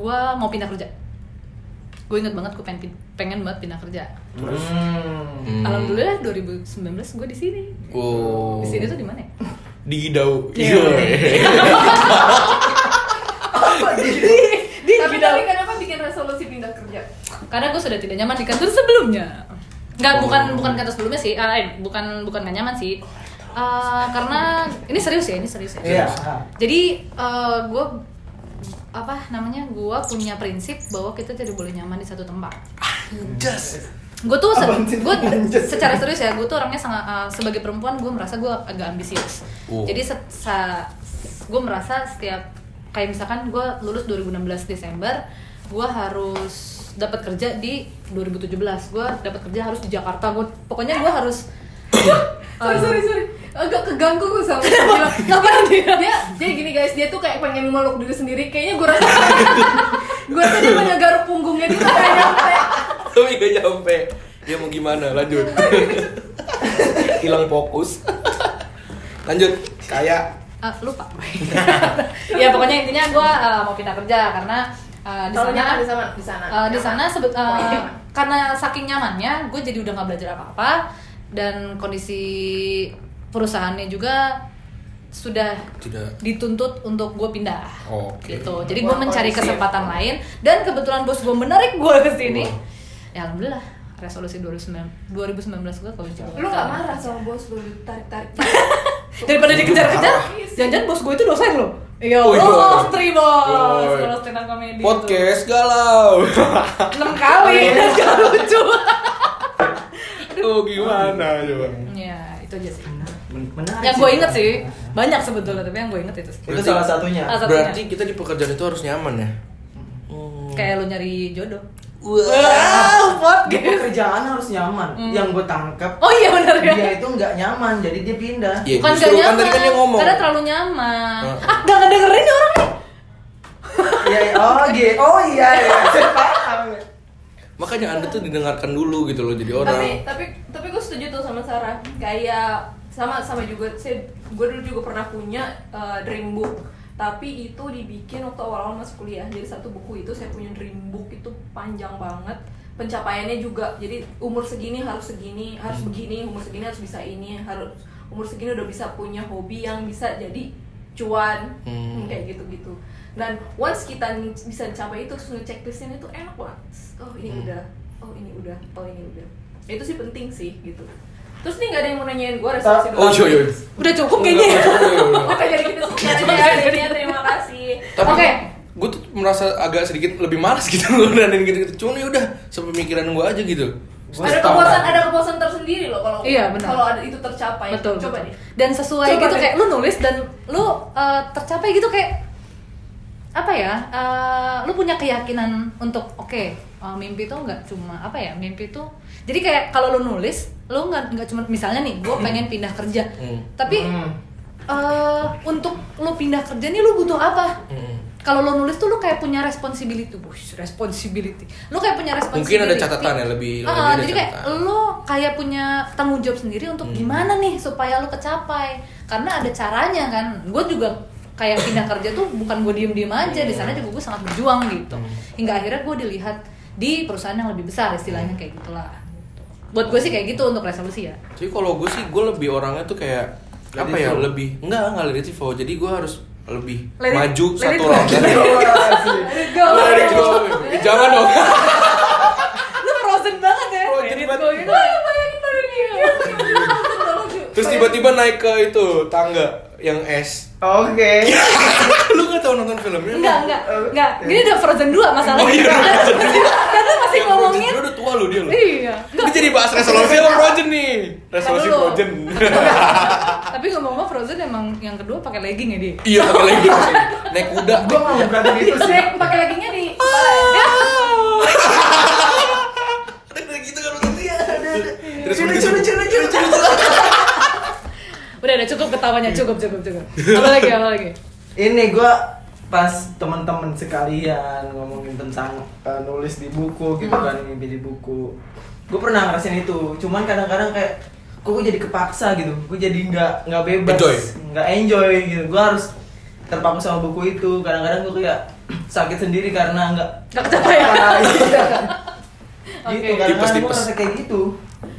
Speaker 1: gue mau pindah kerja. Gue inget banget gue pengen pin- pengen banget pindah kerja.
Speaker 4: Hmm.
Speaker 2: Hmm.
Speaker 1: Alhamdulillah 2019 gue di sini.
Speaker 2: Wow.
Speaker 1: Di sini tuh di mana? ya?
Speaker 2: Di Gidau
Speaker 1: Iya.
Speaker 2: Iya
Speaker 1: Di di
Speaker 5: Tapi tapi
Speaker 1: Bidau.
Speaker 5: kenapa bikin resolusi pindah kerja?
Speaker 1: Karena gue sudah tidak nyaman di kantor sebelumnya. Enggak,
Speaker 2: Oh.
Speaker 1: bukan bukan kantor sebelumnya sih. Ah, eh, bukan bukan gak nyaman sih. Eh, karena ini serius ya, ini serius ya.
Speaker 4: Iya.
Speaker 1: Jadi gue apa namanya gue punya prinsip bahwa kita tidak boleh nyaman di satu tempat.
Speaker 2: Just
Speaker 1: Gue tuh se-
Speaker 4: Apaan sih?
Speaker 1: gua
Speaker 4: Anjas.
Speaker 1: secara serius ya gue tuh orangnya sangat eh, sebagai perempuan gue merasa gue agak ambisius.
Speaker 2: Oh.
Speaker 1: Jadi gue merasa setiap kayak misalkan gue lulus 2016 Desember gue harus dapat kerja di 2017 gue dapat kerja harus di Jakarta gue pokoknya gue harus
Speaker 5: Sorry sorry sorry. Agak keganggu gue sama
Speaker 1: ngapain dia
Speaker 5: dia jadi gini guys dia tuh kayak pengen meluk diri sendiri kayaknya gue rasa gue rasa dia menyegaruk punggungnya dia tuh kayak nyampe.
Speaker 2: Tapi gak nyampe Ya mau gimana lanjut Hilang fokus Lanjut Kayak
Speaker 1: Ah, lupa ya pokoknya intinya gue mau pindah kerja karena eh, di
Speaker 5: Tahunnya
Speaker 1: sana
Speaker 5: kan di sana di sana.
Speaker 1: Eh, di sana sebet- eh,
Speaker 5: Pokoknya nyaman.
Speaker 1: karena saking nyamannya gue jadi udah nggak belajar apa-apa dan kondisi perusahaannya juga sudah
Speaker 2: Tidak.
Speaker 1: dituntut untuk gue pindah
Speaker 2: Oke.
Speaker 1: gitu jadi gue
Speaker 5: Wah,
Speaker 1: mencari
Speaker 5: kondisi.
Speaker 1: kesempatan lain dan kebetulan bos gue menarik gue ke sini ya alhamdulillah resolusi 2019 2019 gue kalau
Speaker 5: Lu gak marah sama bos lu ditarik-tarik
Speaker 1: daripada dikejar-kejar jangan-jangan bos gue itu dosen lo Iya,
Speaker 5: Oh,
Speaker 2: Woi,
Speaker 1: lo
Speaker 2: woi.
Speaker 1: love three
Speaker 5: Iya.
Speaker 1: bos,
Speaker 2: Woi.
Speaker 1: kalau stand up comedy
Speaker 2: Podcast galau.
Speaker 1: tuh. enam
Speaker 5: Oh,
Speaker 1: kali,
Speaker 5: iya.
Speaker 1: dan gak lucu.
Speaker 2: Aduh gimana coba?
Speaker 1: ya itu aja sih.
Speaker 4: Men- menarik
Speaker 1: Yang
Speaker 4: sih.
Speaker 1: gue inget sih banyak sebetulnya, tapi yang gue inget itu. sih.
Speaker 4: itu salah satunya
Speaker 1: Ah, satunya.
Speaker 2: Berarti kita di pekerjaan itu harus nyaman ya. Hmm.
Speaker 1: Kayak lo nyari jodoh.
Speaker 2: Wah.
Speaker 4: Ah, di pekerjaan harus nyaman
Speaker 1: Hmm.
Speaker 4: yang gue tangkap
Speaker 1: Oh iya benar ya.
Speaker 4: dia itu nggak nyaman jadi dia pindah
Speaker 2: Ya,
Speaker 1: Bukan gak
Speaker 2: justru
Speaker 1: nyaman,
Speaker 2: kan tadi kan dia ngomong.
Speaker 1: karena terlalu nyaman.
Speaker 2: Heeh.
Speaker 1: Ah, gak ngedengerin nih orang nih.
Speaker 4: Iya, iya. oh gitu oh iya iya Saya paham. ya.
Speaker 2: Makanya Anda tuh didengarkan dulu gitu loh jadi orang.
Speaker 5: tapi tapi tapi gue setuju tuh sama Sarah kayak sama sama juga saya gue dulu juga pernah punya eh, dream book tapi itu dibikin waktu awal-awal masuk kuliah jadi satu buku itu saya punya dream book itu panjang banget pencapaiannya juga jadi umur segini harus segini harus begini umur segini harus bisa ini harus umur segini udah bisa punya hobi yang bisa jadi cuan
Speaker 2: Hmm.
Speaker 5: kayak gitu gitu dan once kita n- bisa capai itu terus ngeceklistin itu enak banget oh ini
Speaker 2: Hmm.
Speaker 5: udah oh ini udah oh ini udah itu sih penting sih gitu terus nih nggak ada yang mau nanyain gue resolusi
Speaker 2: Oh iya iya.
Speaker 1: Udah cukup kayaknya. ya?
Speaker 5: Oke, Oh, jadi kita sekian aja ya. Terima kasih.
Speaker 2: Tapi
Speaker 1: Oke.
Speaker 2: gue tuh merasa agak sedikit lebih malas gitu loh dan gitu gitu. Cuman ya udah sepemikiran gue aja gitu.
Speaker 5: Ada kepuasan, ada kepuasan tersendiri loh kalau
Speaker 1: Iya, benar.
Speaker 5: kalau ada itu tercapai.
Speaker 1: betul
Speaker 5: Coba
Speaker 1: betul.
Speaker 5: deh.
Speaker 1: dan sesuai
Speaker 5: Coba
Speaker 1: gitu
Speaker 5: deh.
Speaker 1: kayak lu nulis dan lu uh, tercapai gitu kayak apa ya uh, lu punya keyakinan untuk oke uh, mimpi tuh nggak cuma apa ya mimpi tuh jadi kayak kalau lu nulis lu nggak nggak cuma misalnya nih gue pengen pindah kerja
Speaker 2: Hmm.
Speaker 1: tapi
Speaker 4: Hmm.
Speaker 1: uh, untuk lu pindah kerja nih lu butuh apa
Speaker 2: Hmm.
Speaker 1: kalau lu nulis tuh lu kayak punya responsibility, Wush, responsibility. Lu kayak punya responsibility.
Speaker 2: Mungkin ada catatan ya, lebih-
Speaker 1: Ah,
Speaker 2: lebih ada
Speaker 1: jadi kayak
Speaker 2: catatan. Hmm.
Speaker 1: lu kayak punya tanggung jawab sendiri untuk gimana nih supaya lu kecapai. Karena ada caranya kan. Gue juga kayak pindah kerja tuh bukan gue diem-diem aja di sana juga gue sangat berjuang gitu.
Speaker 2: Hmm.
Speaker 1: Hingga akhirnya gue dilihat di perusahaan yang lebih besar istilahnya kayak gitulah. Buat gue sih kayak gitu untuk resolusi ya.
Speaker 2: Jadi kalau gue sih gue lebih orangnya tuh kayak apa ya
Speaker 4: Lady Tivo.
Speaker 2: lebih enggak enggak lady Tivo. Jadi gue harus lebih
Speaker 1: Lady-
Speaker 2: maju
Speaker 1: Lady
Speaker 2: satu
Speaker 1: Tivo.
Speaker 2: round.
Speaker 4: Iya, Wah, sih.
Speaker 2: Lady Tivo. Eh, Jangan dong.
Speaker 1: Lu frozen banget ya.
Speaker 2: Frozen
Speaker 1: Reddit
Speaker 2: banget.
Speaker 1: gua gitu.
Speaker 2: ya. Terus tiba-tiba naik ke itu tangga yang es.
Speaker 4: oke
Speaker 2: Lu nggak tahu nonton filmnya?
Speaker 1: Enggak, enggak, enggak. Ini udah Frozen 2 masalahnya.
Speaker 2: Oh iya,
Speaker 1: Karena masih
Speaker 2: Yang
Speaker 1: ngomongin.
Speaker 2: Frozen, Lu udah tua lu dia lu.
Speaker 1: Iya.
Speaker 2: Ini jadi bahas resolusi sama Frozen nih. Resolusi
Speaker 1: Ntar dulu.
Speaker 2: Frozen.
Speaker 1: Tapi ngomong-ngomong Frozen emang yang kedua pakai legging ya dia.
Speaker 2: Iya, pakai lagi. Naik kuda.
Speaker 4: gue mau berani gitu
Speaker 5: Terus
Speaker 4: sih
Speaker 5: naik pakai leggingnya di ya.
Speaker 2: gitu kan lu
Speaker 4: ya.
Speaker 2: iya. Terus
Speaker 4: Lucu,
Speaker 2: begitu.
Speaker 4: lucu, lucu, lucu.
Speaker 1: Udah, udah cukup ketawanya,
Speaker 2: Iya.
Speaker 1: cukup, cukup, cukup. Apa lagi, apa lagi?
Speaker 4: ini gue pas teman-teman sekalian ngomongin tentang uh, nulis di buku gitu kan mimpi di buku gue pernah ngerasain itu cuman kadang-kadang kayak kok gue jadi kepaksa gitu gue jadi nggak nggak bebas
Speaker 2: Enjoy.
Speaker 4: nggak enjoy gitu gue harus terpaku sama buku itu kadang-kadang gue kayak sakit sendiri karena nggak
Speaker 1: Gak kecapean.
Speaker 4: Iya.
Speaker 1: Oke.
Speaker 4: gitu kadang-kadang gue
Speaker 2: Tipes-tipes.
Speaker 4: ngerasa kayak gitu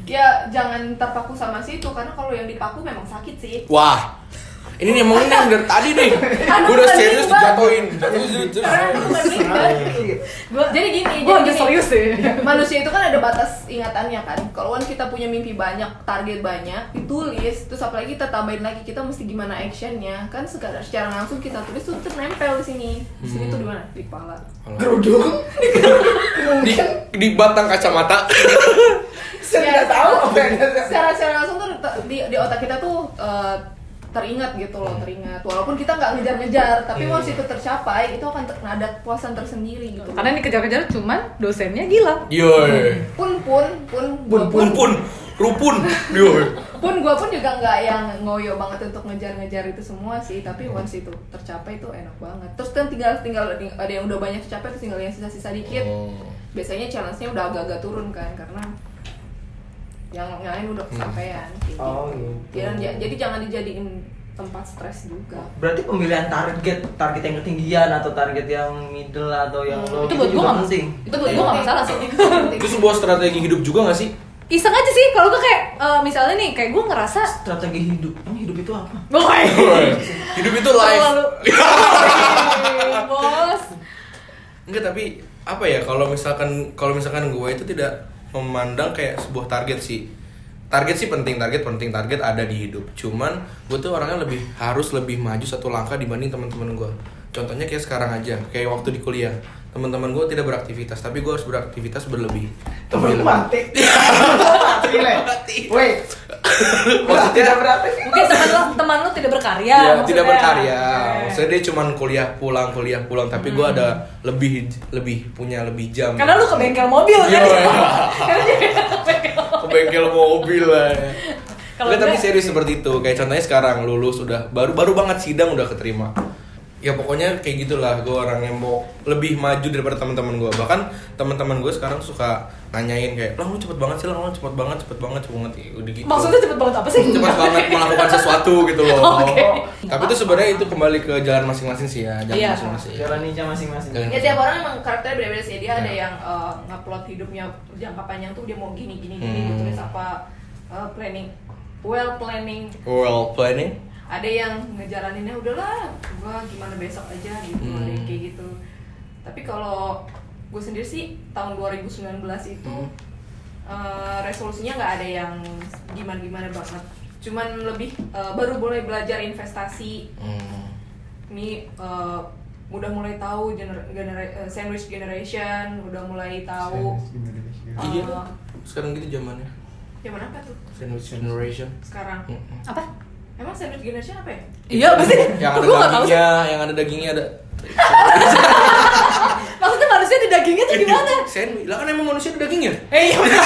Speaker 5: Ya jangan terpaku sama situ karena kalau yang dipaku memang sakit sih.
Speaker 2: Wah. Ini nih emang ini yang dari tadi nih. Gue udah serius dijatuhin. Terus terus.
Speaker 5: Karena itu bukan mimpi.
Speaker 4: Iya.
Speaker 1: Gua-
Speaker 5: Jadi gini,
Speaker 1: Gua
Speaker 5: jadi
Speaker 1: agak
Speaker 5: gini.
Speaker 1: serius sih.
Speaker 5: manusia itu kan ada batas ingatannya kan kalau kan kita punya mimpi banyak target banyak ditulis terus apalagi kita tambahin lagi kita mesti gimana actionnya kan secara secara langsung kita tulis tuh nempel di sini di sini tuh di mana di kepala
Speaker 4: gerudung
Speaker 2: Di, di batang kacamata.
Speaker 4: saya tidak tahu apa yang
Speaker 5: secara secara langsung tuh te- di, di otak kita tuh eh, teringat gitu loh teringat walaupun kita nggak ngejar-ngejar tapi
Speaker 2: Iya.
Speaker 5: once itu tercapai itu akan ter, ada kepuasan tersendiri gitu
Speaker 1: Karena ini kejar-kejar cuman dosennya
Speaker 2: Oh,
Speaker 1: gila.
Speaker 2: gitu Yoi.
Speaker 5: pun pun pun gua
Speaker 2: Pun pun rupun. Yoi.
Speaker 5: pun gue pun juga nggak yang ngoyo banget untuk ngejar-ngejar itu semua sih tapi once itu tercapai itu enak banget terus kan tinggal tinggal ada yang udah banyak tercapai terus tinggal yang sisa-sisa dikit
Speaker 2: Oh.
Speaker 5: biasanya challenge-nya udah agak-agak turun kan karena
Speaker 2: Hmm.
Speaker 5: yang yang lain udah kesampaian kayak
Speaker 4: Oh,
Speaker 5: gitu. ya,
Speaker 4: gitu.
Speaker 5: Jangan- ja- jadi jangan dijadiin tempat stres juga
Speaker 4: Berarti pemilihan target, target yang ketinggian atau target yang middle atau yang
Speaker 1: Hmm.
Speaker 4: low
Speaker 1: itu buat gue
Speaker 4: juga
Speaker 1: nggak
Speaker 4: penting.
Speaker 1: itu buat gue nggak masalah sih
Speaker 2: Itu sebuah strategi hidup juga gak sih?
Speaker 1: iseng aja sih kalau gue kayak eh, misalnya nih kayak gue ngerasa
Speaker 4: Strategi hidup. Emang hidup itu apa?
Speaker 1: Boy.
Speaker 2: Iya. hidup itu live.
Speaker 1: bos
Speaker 2: Enggak tapi apa ya kalau misalkan kalau misalkan gue itu tidak memandang kayak sebuah target sih. Target sih penting, target penting, target ada di hidup. Cuman gue tuh orangnya lebih harus lebih maju satu langkah dibanding teman-teman gue. Contohnya kayak sekarang aja, kayak waktu di kuliah. Teman-teman gue tidak beraktivitas, tapi gue harus beraktivitas berlebih.
Speaker 4: Temen lu mati. mati, Le. Wait.
Speaker 2: Maksudnya-
Speaker 4: Tidak berarti.
Speaker 1: mungkin teman lo teman lo tidak berkarya
Speaker 2: Ya,
Speaker 1: maksudnya.
Speaker 2: tidak berkarya.
Speaker 1: Oke.
Speaker 2: Maksudnya dia cuman kuliah pulang, kuliah pulang, tapi gue ada lebih lebih punya lebih jam.
Speaker 1: Hmm. karena lu ke bengkel mobil kan
Speaker 2: Iya.
Speaker 1: Karena dia ke bengkel.
Speaker 2: ke bengkel mobil lah. ya.
Speaker 1: iya. Kalau
Speaker 2: Nggak, tapi
Speaker 1: enggak-
Speaker 2: serius seperti itu. Kayak contohnya sekarang lulus udah baru baru banget sidang udah keterima. Ya pokoknya kayak gitulah gue orang yang mau lebih maju daripada teman-teman gue. Bahkan teman-teman gue sekarang suka nanyain kayak, "Lah lu cepet banget sih, lah lu cepet banget, cepet banget, cepet banget." Ya, udah gitu.
Speaker 1: maksudnya cepet banget apa sih
Speaker 2: cepet banget melakukan sesuatu gitu loh.
Speaker 1: Oke.
Speaker 2: Tapi itu sebenarnya itu kembali ke jalan masing-masing sih ya, jalan
Speaker 1: Iya.
Speaker 2: masing-masing.
Speaker 4: Jalan ninja masing-masing.
Speaker 2: Jalan-
Speaker 5: ya tiap orang emang karakternya beda-beda sih dia ada
Speaker 2: Ya.
Speaker 5: yang eh, ngupload hidupnya jangka panjang tuh dia mau gini gini gini
Speaker 2: Hmm.
Speaker 5: dia tulis apa eh, planning well planning
Speaker 2: World planning.
Speaker 5: ada yang ngejalaninnya udahlah gua gimana besok aja gitu
Speaker 2: Hmm.
Speaker 5: ada yang kayak gitu tapi kalau gue sendiri sih tahun 2019 itu
Speaker 2: Hmm.
Speaker 5: eh, resolusinya nggak ada yang gimana gimana banget cuman lebih eh, baru boleh belajar investasi
Speaker 2: Hmm.
Speaker 5: ini eh, udah mulai tahu gener- genera- eh, sandwich generation udah mulai tahu eh,
Speaker 2: Iya. Sekarang gitu zamannya.
Speaker 5: zaman apa tuh
Speaker 2: Sandwich generation.
Speaker 5: sekarang
Speaker 4: Hmm.
Speaker 2: Mm-mm.
Speaker 1: apa
Speaker 5: emang sandwich generation apa ya
Speaker 1: iya apa sih
Speaker 2: yang ada
Speaker 1: gue nggak tahu sih
Speaker 2: dagingnya, yang ada dagingnya ada
Speaker 1: maksudnya manusia di dagingnya
Speaker 2: Iya.
Speaker 1: tuh gimana
Speaker 2: sandwich. Lah kan emang manusia ada dagingnya.
Speaker 1: eh iya bener Iya,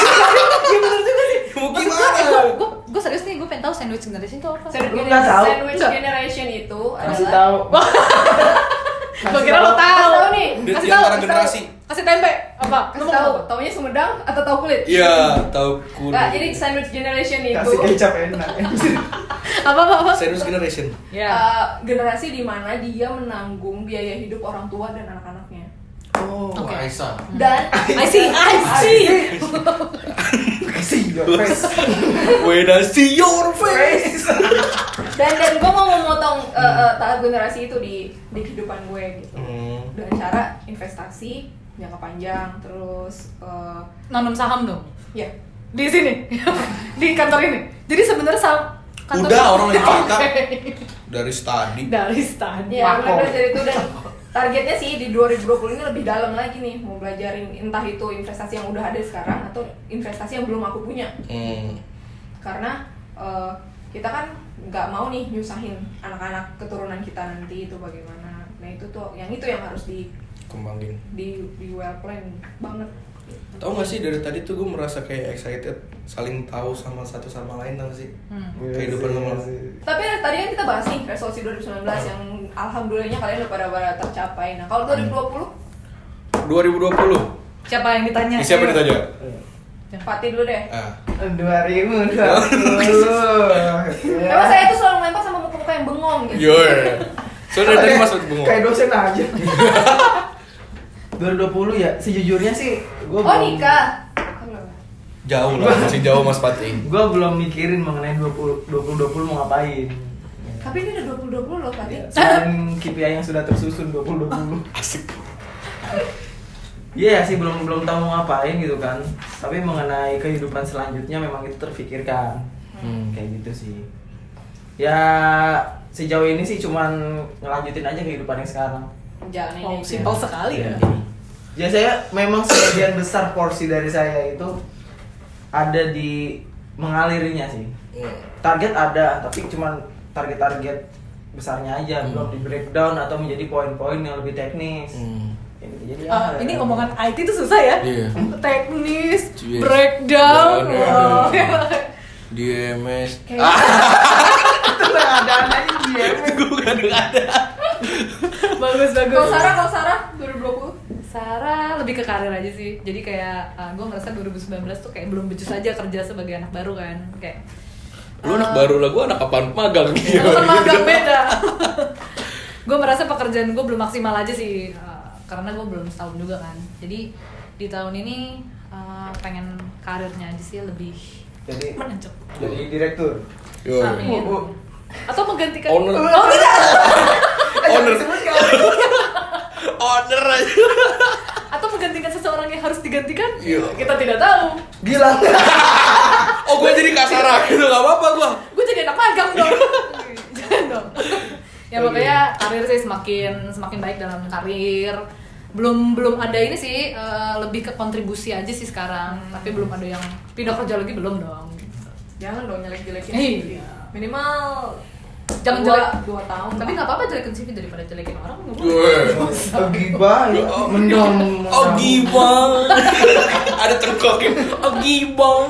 Speaker 1: bener juga sih
Speaker 2: Mau
Speaker 1: Maksud gue,
Speaker 2: gimana?
Speaker 1: eh, gue, gue, gue serius nih, gue pengen tahu sandwich generation itu apa
Speaker 5: sandwich,
Speaker 4: Lu
Speaker 5: gener-
Speaker 4: nggak tahu?
Speaker 5: sandwich
Speaker 1: Nggak.
Speaker 5: generation itu
Speaker 4: Kasih
Speaker 5: adalah
Speaker 4: tahu.
Speaker 1: Gue kira lo
Speaker 5: Kasih
Speaker 1: tahu
Speaker 5: tahu nih.
Speaker 2: Dia
Speaker 1: Kasih
Speaker 2: di
Speaker 1: tahu,
Speaker 2: antara
Speaker 1: kasih
Speaker 2: generasi.
Speaker 1: tahu. Kasih tempe apa? Lu
Speaker 5: Kasih
Speaker 1: mau
Speaker 5: tahu,
Speaker 1: ngomong apa?
Speaker 5: taunya Sumedang atau tahu kulit?
Speaker 2: Iya, tahu ku.
Speaker 5: Nah, jadi sandwich generation itu
Speaker 4: Kasih kecap ya, enak.
Speaker 1: Apa apa apa?
Speaker 2: Sandwich generation.
Speaker 1: Ya.
Speaker 5: eh, generasi di mana dia menanggung biaya hidup orang tua dan anak-anaknya.
Speaker 2: Oh,
Speaker 1: Oke.
Speaker 2: Aisyah.
Speaker 5: Dan
Speaker 1: I see, I see.
Speaker 4: Kasih your face.
Speaker 2: When I see your face.
Speaker 5: dan dan gue mau memotong eh, eh, tahap generasi itu di di kehidupan gue gitu.
Speaker 2: Hmm.
Speaker 5: Dengan cara investasi jangka panjang, terus eh,
Speaker 1: Nanam saham dong.
Speaker 5: ya
Speaker 1: Di sini. di kantor ini. Jadi sebenarnya saham kantor
Speaker 2: Udah, orang lagi cerita.
Speaker 1: Oke.
Speaker 2: Dari study.
Speaker 1: Dari stan.
Speaker 5: Ya,
Speaker 4: Mako.
Speaker 5: mulai dari itu dan targetnya sih di 2020 ini lebih dalam lagi nih mau belajarin entah itu investasi yang udah ada sekarang atau investasi yang belum aku punya
Speaker 2: Hmm.
Speaker 5: karena eh, kita kan nggak mau nih nyusahin anak-anak keturunan kita nanti itu bagaimana nah itu tuh yang itu yang harus di
Speaker 2: Kembangin.
Speaker 5: di di well plan banget
Speaker 2: Tahu gak sih dari tadi tuh gue merasa kayak excited saling tahu sama satu sama lain tau gak sih?
Speaker 1: Hmm.
Speaker 2: Kehidupan normal.
Speaker 5: tapi tadi kan kita bahas nih resolusi 2019 yang alhamdulillahnya kalian udah pada pada tercapai nah kalau
Speaker 2: 2020.
Speaker 5: 2020
Speaker 1: Siapa yang ditanya?
Speaker 2: Eh, Siapa ditanya?
Speaker 5: Fatih dulu
Speaker 1: Eh.
Speaker 5: deh
Speaker 2: Ah.
Speaker 4: 2020. Ya.
Speaker 5: Emang saya itu selalu lempar sama muka-muka yang bengong gitu
Speaker 2: Your. So dari tadi masuk bengong.
Speaker 4: Kayak dosen aja. 2020 ya, sejujurnya sih gue
Speaker 5: Oh nikah.
Speaker 2: Jauh lah, masih jauh Mas Pati.
Speaker 4: Gue belum mikirin mengenai 20 2020 mau ngapain.
Speaker 5: Tapi ini udah 2020 loh
Speaker 4: Ya,
Speaker 5: Fatih.
Speaker 4: selain KPI yang sudah tersusun 2020. Asik. Iya sih belum belum tahu mau ngapain gitu kan. Tapi mengenai kehidupan selanjutnya memang itu terfikirkan.
Speaker 2: Hmm.
Speaker 4: Kayak gitu sih. Ya sejauh ini sih cuman ngelanjutin aja kehidupan yang sekarang.
Speaker 5: Jalan ini.
Speaker 1: Wow,
Speaker 5: aja.
Speaker 1: simpel sekali
Speaker 2: Iya.
Speaker 1: ya.
Speaker 4: Ya saya memang sebagian besar porsi dari saya itu ada di mengalirinya sih. Target ada, tapi cuman target-target besarnya aja belum di breakdown atau menjadi poin-poin yang lebih teknis.
Speaker 2: Hmm.
Speaker 4: Ya gitu. Jadi
Speaker 1: Ah,
Speaker 4: ya-
Speaker 1: ini omongan IT itu susah ya.
Speaker 2: Iya.
Speaker 1: Teknis,
Speaker 2: Yes.
Speaker 1: breakdown.
Speaker 2: Breakdown.
Speaker 1: Wow.
Speaker 2: iya. Di MS.
Speaker 5: Kayaknya
Speaker 4: gitu. itu nggak ada adanya dia.
Speaker 2: Gue gak ada.
Speaker 1: bagus bagus.
Speaker 5: Kalau Sarah, kalau Sarah 2020.
Speaker 1: Sarah lebih ke karir aja sih. Jadi ah, kayak gue ngerasa 2019 tuh kayak belum becus aja kerja sebagai anak baru kan. Kayak
Speaker 2: Lu anak baru lah, gue anak kapan magang
Speaker 1: Ya,
Speaker 2: gitu.
Speaker 4: Iya.
Speaker 1: bukan magang beda. gue merasa pekerjaan gue belum maksimal aja sih, uh, karena gue belum setahun juga kan. Jadi di tahun ini uh, pengen karirnya aja sih lebih
Speaker 4: Jadi
Speaker 1: menanjak.
Speaker 4: jadi direktur.
Speaker 2: Yo.
Speaker 1: Amin.
Speaker 4: Oh, oh.
Speaker 1: Atau menggantikan.
Speaker 2: Owner.
Speaker 1: Oh, tidak.
Speaker 2: Owner,
Speaker 4: Sebut kan?
Speaker 2: owner aja.
Speaker 1: Atau menggantikan seseorang yang harus digantikan?
Speaker 2: Iya.
Speaker 1: Kita tidak tahu.
Speaker 4: Gila.
Speaker 2: Oh gue jadi kasar gitu, gak apa-apa gue.
Speaker 1: gue jadi anak magang dong jangan dong ya pokoknya karir sih semakin semakin baik dalam karir belum belum ada ini sih eh, lebih ke kontribusi aja sih sekarang tapi belum ada yang pindah kerja lagi belum dong
Speaker 5: Jangan dong jelek-jelekin.
Speaker 1: Iya.
Speaker 5: Minimal
Speaker 1: Jangan
Speaker 5: dua,
Speaker 1: jelek.
Speaker 5: dua tahun.
Speaker 1: tapi
Speaker 5: lah.
Speaker 1: nggak apa-apa jelekin CV daripada jelekin orang nggak boleh.
Speaker 2: Gue.
Speaker 4: Oh, Gibah ya. Mendom.
Speaker 2: Oh gibang. Ada tengkoknya. Oh gibang.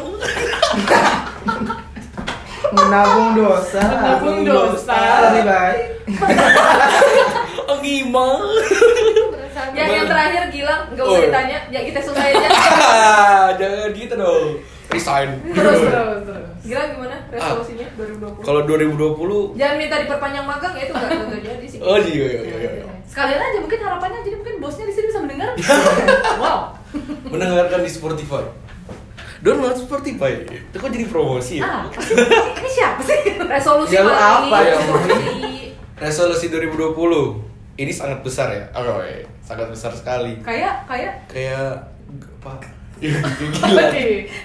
Speaker 4: Menabung dosa.
Speaker 5: Menabung
Speaker 4: agung
Speaker 5: dosa.
Speaker 4: Lebih baik.
Speaker 2: Oh gibang.
Speaker 5: Ya, yang terakhir Gilang, nggak
Speaker 2: Oh.
Speaker 5: usah ditanya, ya kita suka aja.
Speaker 2: Jangan gitu dong. Resign.
Speaker 5: terus, terus, terus. Gilang gimana resolusinya 2020?
Speaker 2: Kalau 2020
Speaker 5: Jangan minta diperpanjang magang ya itu nggak nggak jadi sih.
Speaker 2: Oh iya iya iya. iya.
Speaker 1: sekalian aja mungkin harapannya jadi mungkin bosnya di sini bisa mendengar wow
Speaker 2: Mendengarkan di Spotify. Download Spotify. Itu kok jadi promosi
Speaker 1: ah
Speaker 2: ya?
Speaker 1: ini siapa sih
Speaker 5: Resolusi
Speaker 2: Iya,
Speaker 4: Ya, lu
Speaker 5: malam
Speaker 4: apa
Speaker 5: ini,
Speaker 4: ya,
Speaker 5: resolusi
Speaker 2: Resolusi 2020. Ini sangat besar ya. Oh, iya. sangat besar sekali.
Speaker 1: kayak kayak
Speaker 2: Kayak apa?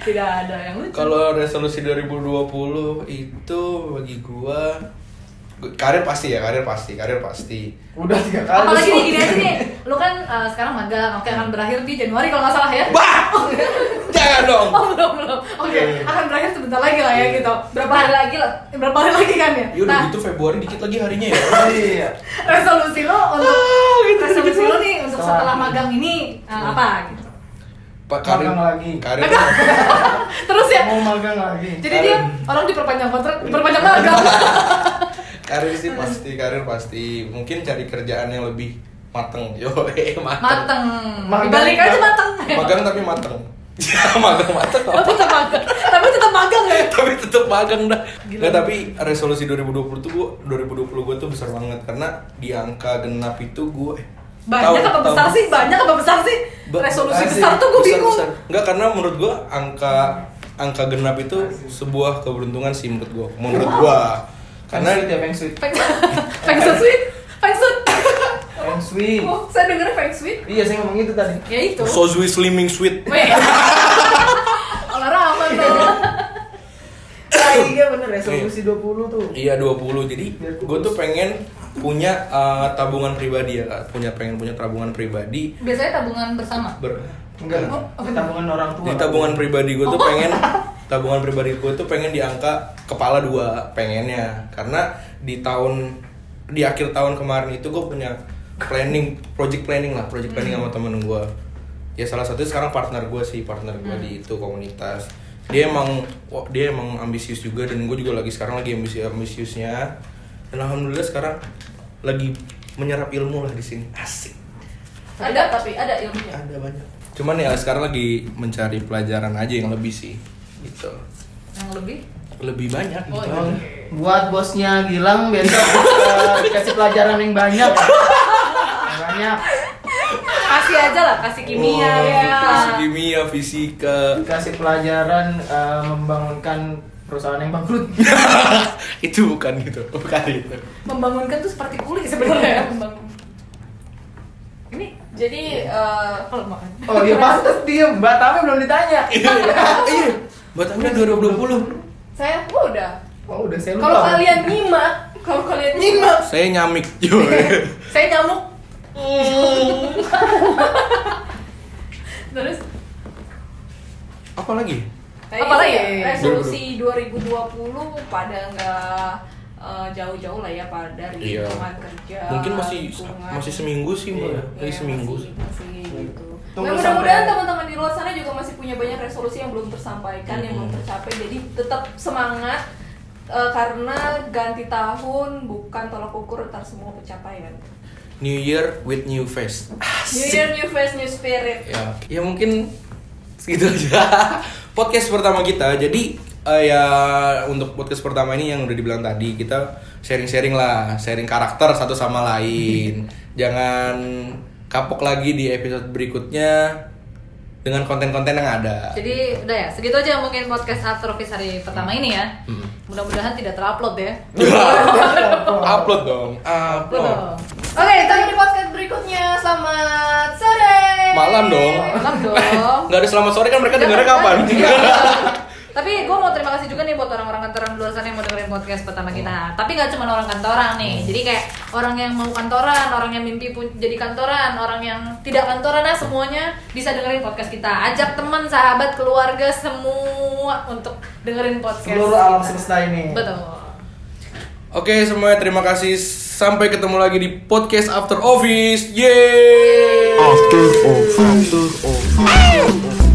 Speaker 1: tidak ada yang lucu
Speaker 2: Kalau resolusi 2020 itu bagi gua gua- karir pasti ya, karir pasti, karir pasti.
Speaker 4: Udah tiga kali.
Speaker 1: Apalagi nih gini aja nih, lu kan eh, sekarang magang, oke akan berakhir di Januari kalau nggak salah ya?
Speaker 2: Bah! Jangan dong.
Speaker 1: Oh belum belum, oke akan berakhir sebentar lagi lah ya gitu. Berapa hari lagi lah? Berapa hari lagi kan ya?
Speaker 2: Ya Iya. udah
Speaker 1: Nah
Speaker 2: gitu Februari dikit lagi harinya ya.
Speaker 4: Iya.
Speaker 1: resolusi
Speaker 2: Ah,
Speaker 1: lo untuk
Speaker 2: gitu,
Speaker 1: resolusi lo nih untuk
Speaker 4: Setelah-
Speaker 1: setelah magang ini eh,
Speaker 2: Iya.
Speaker 1: apa? Gitu.
Speaker 2: Pak karir
Speaker 4: Magang lagi.
Speaker 2: Karir.
Speaker 1: Terus ya,
Speaker 4: Mau magang lagi.
Speaker 1: jadi dia orang diperpanjang kontrak, diperpanjang magang.
Speaker 2: karir sih pasti, karir pasti. Mungkin cari kerjaan yang lebih mateng. Yo, eh, mateng.
Speaker 1: mateng,
Speaker 4: Magang.
Speaker 1: dibalik aja mateng.
Speaker 2: Magang tapi mateng. Ya, magang mateng.
Speaker 1: Tapi tetap magang, tapi tetap magang ya.
Speaker 2: tapi tetep magang dah.
Speaker 1: Gila.
Speaker 2: Nggak, tapi resolusi 2020 tuh gua 2020 gua tuh besar banget karena di angka genap itu gua eh,
Speaker 1: Banyak
Speaker 2: tahun-
Speaker 1: apa besar
Speaker 2: tahun-
Speaker 1: sih? Banyak apa besar sih?
Speaker 2: Ba-
Speaker 1: Resolusi
Speaker 4: Asik.
Speaker 1: besar tuh gue bingung.
Speaker 2: Besar-besar. Nggak karena menurut gua angka angka genap itu sebuah keberuntungan sih menurut gua. Menurut gua.
Speaker 4: Karena
Speaker 2: Karena
Speaker 4: dia
Speaker 1: ya,
Speaker 4: peng sweet.
Speaker 1: Feng Feng Shui, Feng Shui.
Speaker 4: Peng sweet.
Speaker 5: Oh, saya dengar Feng Shui.
Speaker 4: Iya, saya ngomong itu tadi.
Speaker 1: Ya itu.
Speaker 2: Sozui Slimming Sweet.
Speaker 1: Weh. Olahraga tuh.
Speaker 4: Ah, iya bener resolusi 20 tuh.
Speaker 2: Iya 20 jadi gue tuh pengen punya eh, tabungan pribadi ya kak punya pengen punya tabungan pribadi
Speaker 1: Biasanya tabungan bersama.
Speaker 2: ber
Speaker 4: Enggak. Tabungan orang tua.
Speaker 2: di tabungan Oh, pribadi gue tuh pengen tabungan pribadi gue tuh pengen di angka kepala dua pengennya karena di tahun di akhir tahun kemarin itu gue punya planning project planning lah project planning
Speaker 4: Hmm.
Speaker 2: sama temen gue ya salah satu sekarang partner gue sih partner gue di
Speaker 4: Hmm.
Speaker 2: itu komunitas dia emang wah, dia emang ambisius juga dan gue juga lagi sekarang lagi ambisius ambisiusnya dan alhamdulillah sekarang lagi menyerap ilmu lah di sini asik
Speaker 5: Ada tapi ada ilmunya.
Speaker 2: ada banyak cuman ya sekarang lagi mencari pelajaran aja yang lebih sih gitu
Speaker 1: Yang lebih.
Speaker 2: lebih banyak
Speaker 1: Oh,
Speaker 2: gitu
Speaker 1: iya.
Speaker 4: Buat bosnya Gilang besok eh, dikasih pelajaran yang banyak. Yang banyak.
Speaker 1: Kasih aja lah, kasih kimia
Speaker 2: Oh,
Speaker 1: ya.
Speaker 2: fisika, kimia fisika
Speaker 4: Dikasih pelajaran eh, membangunkan perusahaan yang bangkrut.
Speaker 2: itu bukan gitu bukan itu
Speaker 1: Membangunkan tuh seperti kulit sebenarnya ya. membangun. Ini
Speaker 5: Jadi eh,
Speaker 1: kalau makan.
Speaker 4: Oh iya pantas diem, Batamnya belum ditanya.
Speaker 2: iya buat Anda 2020
Speaker 5: saya gua udah.
Speaker 4: Oh udah saya lupa.
Speaker 5: Kalau kalian nyimak, kalau kalian nyimak,
Speaker 2: saya nyamik yo
Speaker 1: Saya nyamuk. Hmm. Terus
Speaker 2: apa lagi
Speaker 5: Tadi
Speaker 1: Apalagi?
Speaker 2: iya,
Speaker 5: ya, resolusi 2020 pada nggak eh, jauh-jauh lah ya pada dari
Speaker 2: Iya.
Speaker 5: lingkungan kerja.
Speaker 2: mungkin masih
Speaker 5: lingkungan.
Speaker 2: masih seminggu sih mbak
Speaker 4: Iya.
Speaker 2: lagi
Speaker 5: Iya,
Speaker 2: seminggu
Speaker 5: masih-
Speaker 2: sih
Speaker 5: masih gitu.
Speaker 4: Tunggu
Speaker 5: Nah, mudah-mudahan
Speaker 4: sampai-
Speaker 5: teman-teman di luar sana juga masih punya banyak resolusi yang belum tersampaikan, yang belum tercapai. Jadi tetap semangat eh, karena ganti tahun bukan tolak ukur ntar semua pencapaian.
Speaker 2: New Year with new face
Speaker 5: New Year, New Face, New Spirit.
Speaker 2: ya ya mungkin segitu aja podcast pertama kita jadi Eh, ya untuk podcast pertama ini yang udah dibilang tadi kita sharing-sharing lah, sharing karakter satu sama lain. Jangan kapok lagi di episode berikutnya dengan konten-konten yang ada.
Speaker 1: Jadi udah ya, segitu aja mungkin podcast After Office hari pertama ini ya. Mudah-mudahan tidak terupload ya.
Speaker 2: upload dong,
Speaker 1: Upload
Speaker 2: upload.
Speaker 1: dong.
Speaker 5: Oke, sampai di podcast berikutnya. Selamat sore.
Speaker 2: Malam dong.
Speaker 1: Malam dong.
Speaker 2: Nggak ada selamat sore kan mereka dengarnya kapan?
Speaker 1: Iya. Tapi gue mau terima kasih juga nih buat orang-orang kantoran di luar sana yang mau dengerin podcast pertama
Speaker 4: Iya.
Speaker 1: kita. Tapi nggak cuma orang kantoran nih. Jadi kayak orang yang mau kantoran, orang yang mimpi pun jadi kantoran, orang yang tidak kantoran nah semuanya bisa dengerin podcast kita. Ajak teman, sahabat, keluarga semua untuk dengerin podcast.
Speaker 4: Seluruh alam
Speaker 1: kita.
Speaker 4: semesta ini.
Speaker 1: Betul.
Speaker 2: Oke semuanya terima kasih. Sampai ketemu lagi di podcast After Office. Yeay.
Speaker 3: After office. After office.